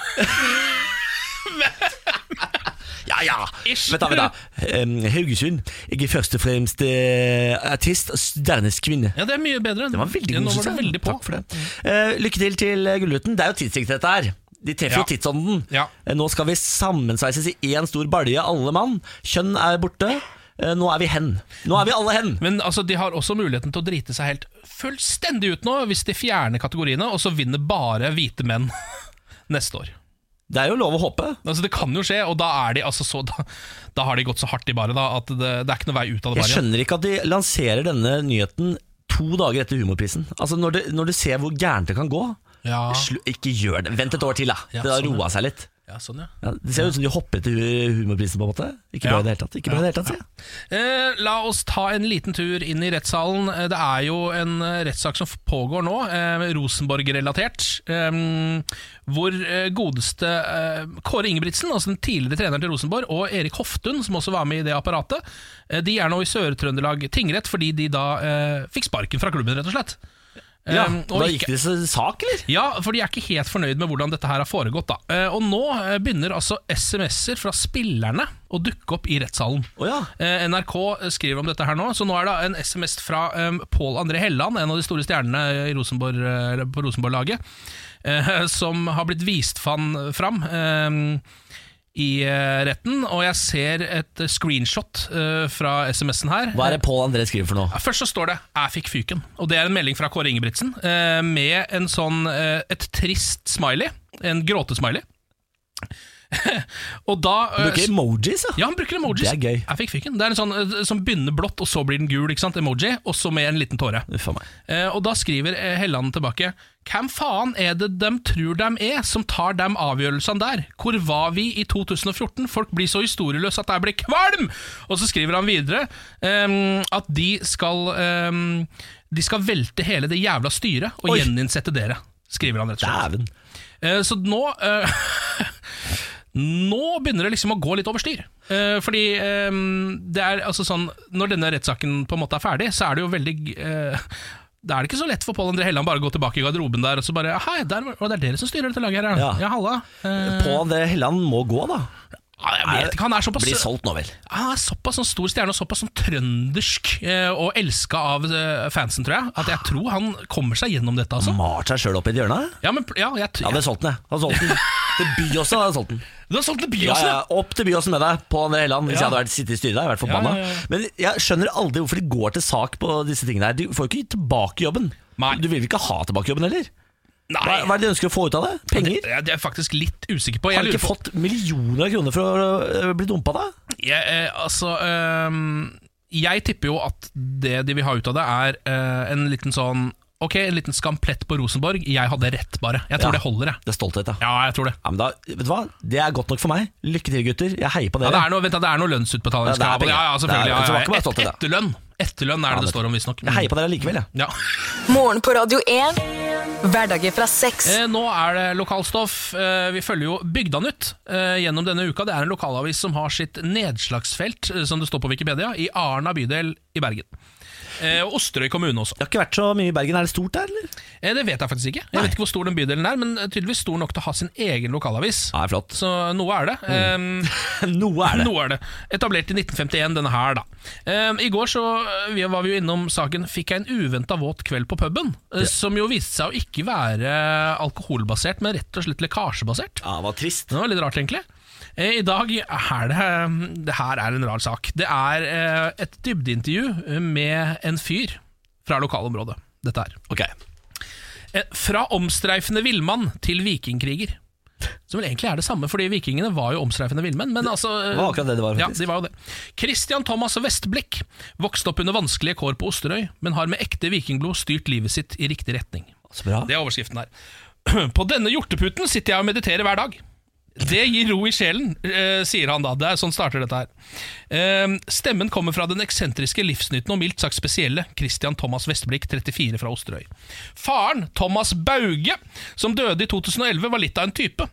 Speaker 3: Ja, ja.
Speaker 4: Ish.
Speaker 3: Vent da, vent da. Em, Haugesund. Jeg er først og fremst eh, artist, og s- dernest kvinne.
Speaker 4: Ja, det er mye bedre.
Speaker 3: Den var veldig
Speaker 4: Ja,
Speaker 3: god,
Speaker 4: nå var
Speaker 3: synes
Speaker 4: du
Speaker 3: jeg.
Speaker 4: veldig på. Mm.
Speaker 3: Takk for det. Eh, lykke til til eh, Gullruten. Det er jo tidsriktig, dette her. De treffer
Speaker 4: Ja.
Speaker 3: jo tidsånden.
Speaker 4: Ja.
Speaker 3: Eh, Nå skal vi sammensveises i én stor balje, alle mann. Kjønn er borte. Eh, Nå er vi hen. Nå er vi alle hen.
Speaker 4: Men altså, de har også muligheten til å drite seg helt fullstendig ut nå, hvis de fjerner kategoriene, og så vinner bare hvite menn neste år.
Speaker 3: Det er jo lov å håpe.
Speaker 4: Altså, det kan jo skje, og da, er de, altså, så, da, da har de gått så hardt i baret da, at det, det er ikke noe vei ut av
Speaker 3: Jeg
Speaker 4: det baret.
Speaker 3: skjønner ikke at de lanserer denne nyheten to dager etter humorprisen. Altså Når, det, når du ser hvor gærent det kan gå,
Speaker 4: Ja.
Speaker 3: slu, ikke gjør det. Vent et år til, da.
Speaker 4: Ja,
Speaker 3: det har
Speaker 4: sånn, ja.
Speaker 3: roa seg litt.
Speaker 4: Ja, sånn, ja.
Speaker 3: Ja, det ser jo ut som de hoppet til humorprisen, på en måte. Ikke
Speaker 4: Ja.
Speaker 3: bra i det hele tatt. Ikke bra i det hele tatt, sier jeg.
Speaker 4: Eh, la oss ta en liten tur inn i rettssalen. Eh, Det er jo en eh, rettssak som pågår nå, eh, Rosenborg-relatert, eh, hvor eh, godeste eh, Kåre Ingebrigtsen, altså den tidligere treneren til Rosenborg, og Erik Hoftun, som også var med i det apparatet, eh, de er nå i Sør-Trøndelag tingrett fordi de da eh, fikk sparken fra klubben, rett og slett.
Speaker 3: Ja,
Speaker 4: Eh, og
Speaker 3: da gikk det så sak, eller?
Speaker 4: ja, for de er ikke helt fornøyd med hvordan dette her har foregått. da Eh, Og nå eh, begynner altså SMS-er fra spillerne å dukke opp i rettssalen.
Speaker 3: Å ja.
Speaker 4: Eh, NRK skriver om dette her nå, så nå er det en SMS fra um, Pål André Helland, en av de store stjernene i Rosenborg, eh, på Rosenborg-laget, eh, som har blitt vist fan, fram. eh, i eh, retten, og jeg ser et eh, screenshot eh, fra SMS-en her.
Speaker 3: Hva er det Pål André skriver for noe?
Speaker 4: Ja, Først så står det 'Jeg fikk fyken', og det er en melding fra Kåre Ingebrigtsen eh, med en sånn, eh, et trist smiley, en gråtesmiley. og da eh,
Speaker 3: Bruker emojis, ja.
Speaker 4: ja, han bruker emojis.
Speaker 3: Det er gøy.
Speaker 4: Jeg fikk fyken. Det er en sånn eh, som begynner blått, og så blir den gul, ikke sant? emoji, og så med en liten tåre.
Speaker 3: Uff a meg.
Speaker 4: Eh, og da skriver eh, Helland tilbake Hvem faen er det dem tror dem er som tar dem avgjørelsene der? Hvor var vi i 2014? Folk blir så historieløse at jeg blir kvalm! Og så skriver han videre ehm, at de skal ehm, De skal velte hele det jævla styret og
Speaker 3: Oi.
Speaker 4: gjeninnsette dere. Skriver han rett og slett.
Speaker 3: Dæven.
Speaker 4: Eh, Så nå eh, Nå begynner det liksom å gå litt over styr. Eh, Fordi eh, det er altså sånn Når denne rettssaken på en måte er ferdig, så er det jo veldig eh, Da er det ikke så lett for Pål André Helland bare å gå tilbake i garderoben der og så bare Hei, der, og det er dere som styrer dette laget her, ja.
Speaker 3: Ja.
Speaker 4: Ja, halla. Eh,
Speaker 3: Pål André Helland må gå, da.
Speaker 4: ja, jeg vet ikke, han er såpass
Speaker 3: Blir solgt nå, vel.
Speaker 4: Han er såpass sånn stor stjerne og såpass sånn trøndersk eh, og elska av eh, fansen, tror jeg, at jeg tror han kommer seg gjennom dette, altså.
Speaker 3: Malt seg sjøl opp i et hjørne?
Speaker 4: Ja, men, ja, jeg,
Speaker 3: Ja, det er solgt den, jeg. Han solgt den. Til Byåsen hadde jeg solgt den.
Speaker 4: Du har solgt til Byåsen,
Speaker 3: ja? ja opp til Byåsen med deg på André Helland. Hvis
Speaker 4: Ja.
Speaker 3: jeg hadde vært sittet i styret der, jeg hadde vært
Speaker 4: Ja,
Speaker 3: forbanna.
Speaker 4: ja, ja.
Speaker 3: Men jeg skjønner aldri hvorfor de går til sak på disse tingene her. De får jo ikke tilbake jobben. Du vil vel ikke ha tilbake jobben heller?
Speaker 4: Nei.
Speaker 3: Hva, hva er det de ønsker å få ut av det? Penger?
Speaker 4: Det, det er jeg faktisk litt usikker på. Jeg
Speaker 3: Har de
Speaker 4: lurer
Speaker 3: ikke
Speaker 4: på-
Speaker 3: fått millioner av kroner for å øh, bli dumpa, da?
Speaker 4: Jeg, eh, altså, ehm, jeg tipper jo at det de vil ha ut av det, er eh, en liten sånn Ok, en liten skamplett på Rosenborg. Jeg hadde rett, bare. Jeg tror
Speaker 3: Ja.
Speaker 4: det holder, jeg.
Speaker 3: Det er stolthet, ja.
Speaker 4: Ja, jeg tror det.
Speaker 3: ja men da, vet du hva? Det er godt nok for meg. Lykke til, gutter. Jeg heier på
Speaker 4: Ja,
Speaker 3: dere.
Speaker 4: det er noe, vent, da, det er noe
Speaker 3: Ja, det
Speaker 4: lønnsutbetalingskrav.
Speaker 3: er penger.
Speaker 4: Ja, ja, selvfølgelig.
Speaker 3: Det er-
Speaker 4: Ja,
Speaker 3: så var
Speaker 4: ja,
Speaker 3: ikke bare
Speaker 4: Et-
Speaker 3: stolt i det.
Speaker 4: Etterlønn Etterlønn er det det står om, visstnok. Mm.
Speaker 3: Jeg heier på dere likevel, jeg.
Speaker 4: Ja.
Speaker 5: Morgen på Radio 1. Hverdager fra seks.
Speaker 4: Eh, nå er det lokalstoff. Eh, vi følger jo Bygdanytt eh, gjennom denne uka. Det er en lokalavis som har sitt nedslagsfelt, eh, som det står på Wikipedia, i Arna bydel i Bergen. Eh, og Osterøy kommune også.
Speaker 3: Det har ikke vært så mye i Bergen. Er det stort der, eller?
Speaker 4: Eh, det vet jeg faktisk ikke. Jeg vet ikke hvor stor den bydelen er, men eh, tydeligvis stor nok til å ha sin egen lokalavis.
Speaker 3: Nei, flott.
Speaker 4: Så noe er det. Eh,
Speaker 3: Noe Mm. er det.
Speaker 4: Noe er det. Etablert i 1951, denne her, da. Eh, I går så eh, vi var vi jo innom saken 'Fikk jeg en uventa våt kveld på puben?', eh, som jo viste seg å ikke være alkoholbasert, men rett og slett lekkasjebasert.
Speaker 3: Ja, det var trist.
Speaker 4: Det var litt rart, egentlig. Eh, I dag er det eh, Det her er en rar sak. Det er eh, et dybdeintervju eh, med en fyr fra lokalområdet. Dette her.
Speaker 3: Ok.
Speaker 4: Eh, Fra omstreifende villmann til vikingkriger. Som vel egentlig er det samme, fordi vikingene var jo omstreifende villmenn. Men altså eh,
Speaker 3: Det var akkurat det det var,
Speaker 4: Ja,
Speaker 3: faktisk.
Speaker 4: de var jo det. Christian Thomas Vestblikk vokste opp under vanskelige kår på Osterøy, men har med ekte vikingblod styrt livet sitt i riktig retning.
Speaker 3: Så bra.
Speaker 4: Det er overskriften her. På denne hjorteputen sitter jeg og mediterer hver dag. Det gir ro i sjelen, eh, sier han da. Det er sånn starter dette her. Eh, stemmen kommer fra den eksentriske, livsnytende og mildt sagt spesielle Christian Thomas Vestblikk, 34 fra Osterøy. Faren, Thomas Bauge, som døde i 2011, var litt av en type.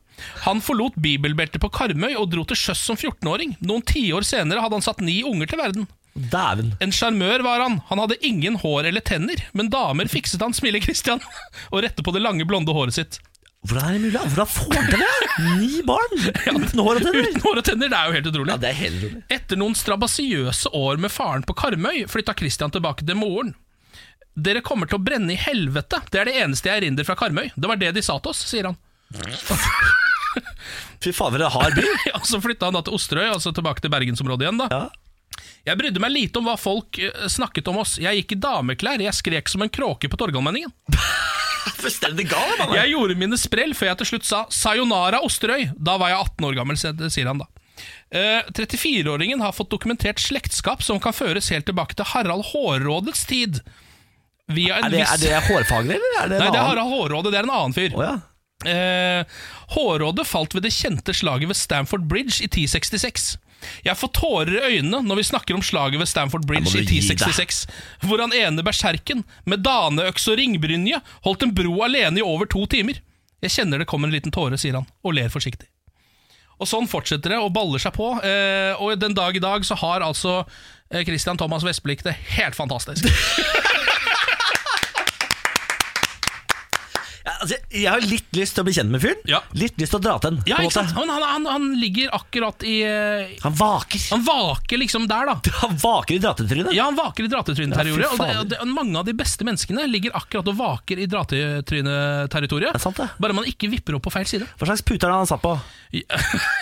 Speaker 4: Han forlot bibelbeltet på Karmøy og dro til sjøs som 14-åring. Noen tiår senere hadde han satt ni unger til verden.
Speaker 3: Dæven.
Speaker 4: En sjarmør var han. Han hadde ingen hår eller tenner, men damer fikset han, smiler Christian, og rette på det lange, blonde håret sitt.
Speaker 3: Hvordan er det mulig? Hvordan får han til det? Ni barn uten hår og tenner?
Speaker 4: Uten hår og tenner, det er jo helt utrolig.
Speaker 3: Ja, det er helt rolig.
Speaker 4: Etter noen strabasiøse år med faren på Karmøy, flytta Christian tilbake til moren. Dere kommer til å brenne i helvete, det er det eneste jeg erindrer fra Karmøy. Det var det de sa til oss, sier han.
Speaker 3: Fy faen, for en hard by.
Speaker 4: Ja, Så flytta han da til Osterøy, altså tilbake til bergensområdet igjen, da.
Speaker 3: Ja.
Speaker 4: Jeg brydde meg lite om hva folk eh, snakket om oss. Jeg gikk i dameklær, jeg skrek som en kråke på Torgallmenningen.
Speaker 3: Fullstendig gal, mann.
Speaker 4: Jeg gjorde mine sprell før jeg til slutt sa 'Sayonara Osterøy'. Da var jeg 18 år gammel, sier- sier han da. Eh, 34-åringen har fått dokumentert slektskap som kan føres helt tilbake til Harald Hårrådets tid. Via en
Speaker 3: Er det,
Speaker 4: viss
Speaker 3: er det hårfaglig, eller er det en
Speaker 4: Nei, det er
Speaker 3: annen?
Speaker 4: Harald Hårråde, det er en annen fyr.
Speaker 3: Å ja.
Speaker 4: Eh, Hårrådet falt ved det kjente slaget ved Stamford Bridge i 1066. Jeg får tårer i øynene når vi snakker om slaget ved Stamford Bridge
Speaker 3: Nei,
Speaker 4: i
Speaker 3: må du gi deg.
Speaker 4: 1066, hvor han ene berserken, med daneøks og ringbrynje, holdt en bro alene i over to timer. Jeg kjenner det kommer en liten tåre, sier han, og ler forsiktig. Og sånn fortsetter det, og baller seg på. Eh, og den dag i dag så har altså eh, Christian Thomas Vestblikk det helt fantastisk.
Speaker 3: Ja, altså, jeg har litt lyst til å bli kjent med fyren.
Speaker 4: Ja.
Speaker 3: Litt lyst til å dra til en.
Speaker 4: Ja,
Speaker 3: på en
Speaker 4: ikke sant?
Speaker 3: måte.
Speaker 4: Han, han, han, han ligger akkurat i eh,
Speaker 3: Han vaker.
Speaker 4: Han vaker liksom der, da.
Speaker 3: Han vaker i dratetrynet.
Speaker 4: Ja, han vaker i dratetryneterritoriet.
Speaker 3: Ja, fy
Speaker 4: og, det-
Speaker 3: faen.
Speaker 4: og det- og mange av de beste menneskene ligger akkurat og vaker i dratetryneterritoriet.
Speaker 3: er sant, det.
Speaker 4: Bare man ikke vipper opp på feil side.
Speaker 3: Hva slags pute er det han satt på?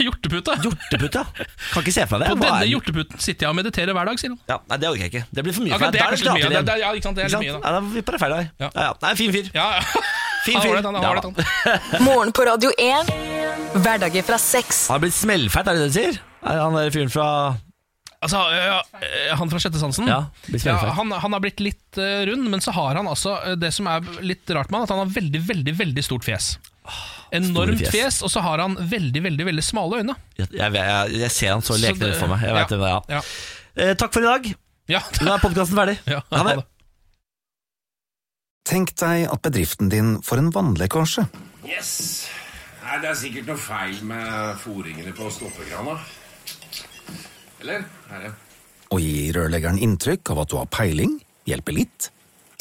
Speaker 4: Hjortepute.
Speaker 3: Hjortepute, ja. Kan ikke se for meg det. Hva
Speaker 4: På
Speaker 3: er
Speaker 4: denne
Speaker 3: den?
Speaker 4: hjorteputen sitter jeg og mediterer hver dag, sier han.
Speaker 3: ja, nei, det orker jeg ikke. Det blir for mye
Speaker 4: Akkurat
Speaker 3: for meg.
Speaker 4: det er
Speaker 3: Da
Speaker 4: kanskje litt mye.
Speaker 3: drater igjen.
Speaker 4: Det er- ja, ikke sant, det er litt
Speaker 3: Ikke
Speaker 4: mye,
Speaker 3: sant? Ja, da vipper det feil vei.
Speaker 4: Ja.
Speaker 3: Ja. Ja, Nei, fin fyr.
Speaker 4: Ja, ja.
Speaker 3: Fin
Speaker 4: Han
Speaker 3: fyr.
Speaker 4: var det, han var
Speaker 3: Ja,
Speaker 4: det,
Speaker 3: da.
Speaker 4: han.
Speaker 5: Morgen på Radio 1. Hverdager fra seks.
Speaker 3: Han har blitt smellfeit, er det det du sier? Er han der fyren fra
Speaker 4: Altså, øh, øh, han fra Sjette sansen
Speaker 3: Ja, blir
Speaker 4: ja,
Speaker 3: smellfeit.
Speaker 4: han, han har blitt litt øh, rund, men så har han altså øh, det som er litt rart med han, at han har veldig, veldig veldig stort fjes. Enormt
Speaker 3: fjes.
Speaker 4: fjes. og så har han veldig, veldig veldig smale øyne.
Speaker 3: Jeg, jeg, jeg, jeg ser han så
Speaker 4: Så
Speaker 3: lekende
Speaker 4: det-
Speaker 3: ut for meg. Jeg vet
Speaker 4: ja,
Speaker 3: det, ja.
Speaker 4: ja.
Speaker 3: Eh, takk for i dag.
Speaker 4: Ja,
Speaker 3: Nå er podkasten ferdig.
Speaker 4: ja,
Speaker 3: Ha det.
Speaker 1: Tenk deg at bedriften din får en vannlekkasje.
Speaker 11: Yes. Nei, det er sikkert noe feil med foringene på stoppekrana. Eller? Her, ja.
Speaker 1: Å gi rørleggeren inntrykk av at du har peiling hjelper litt.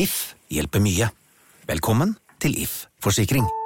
Speaker 1: If hjelper mye. Velkommen til If forsikring.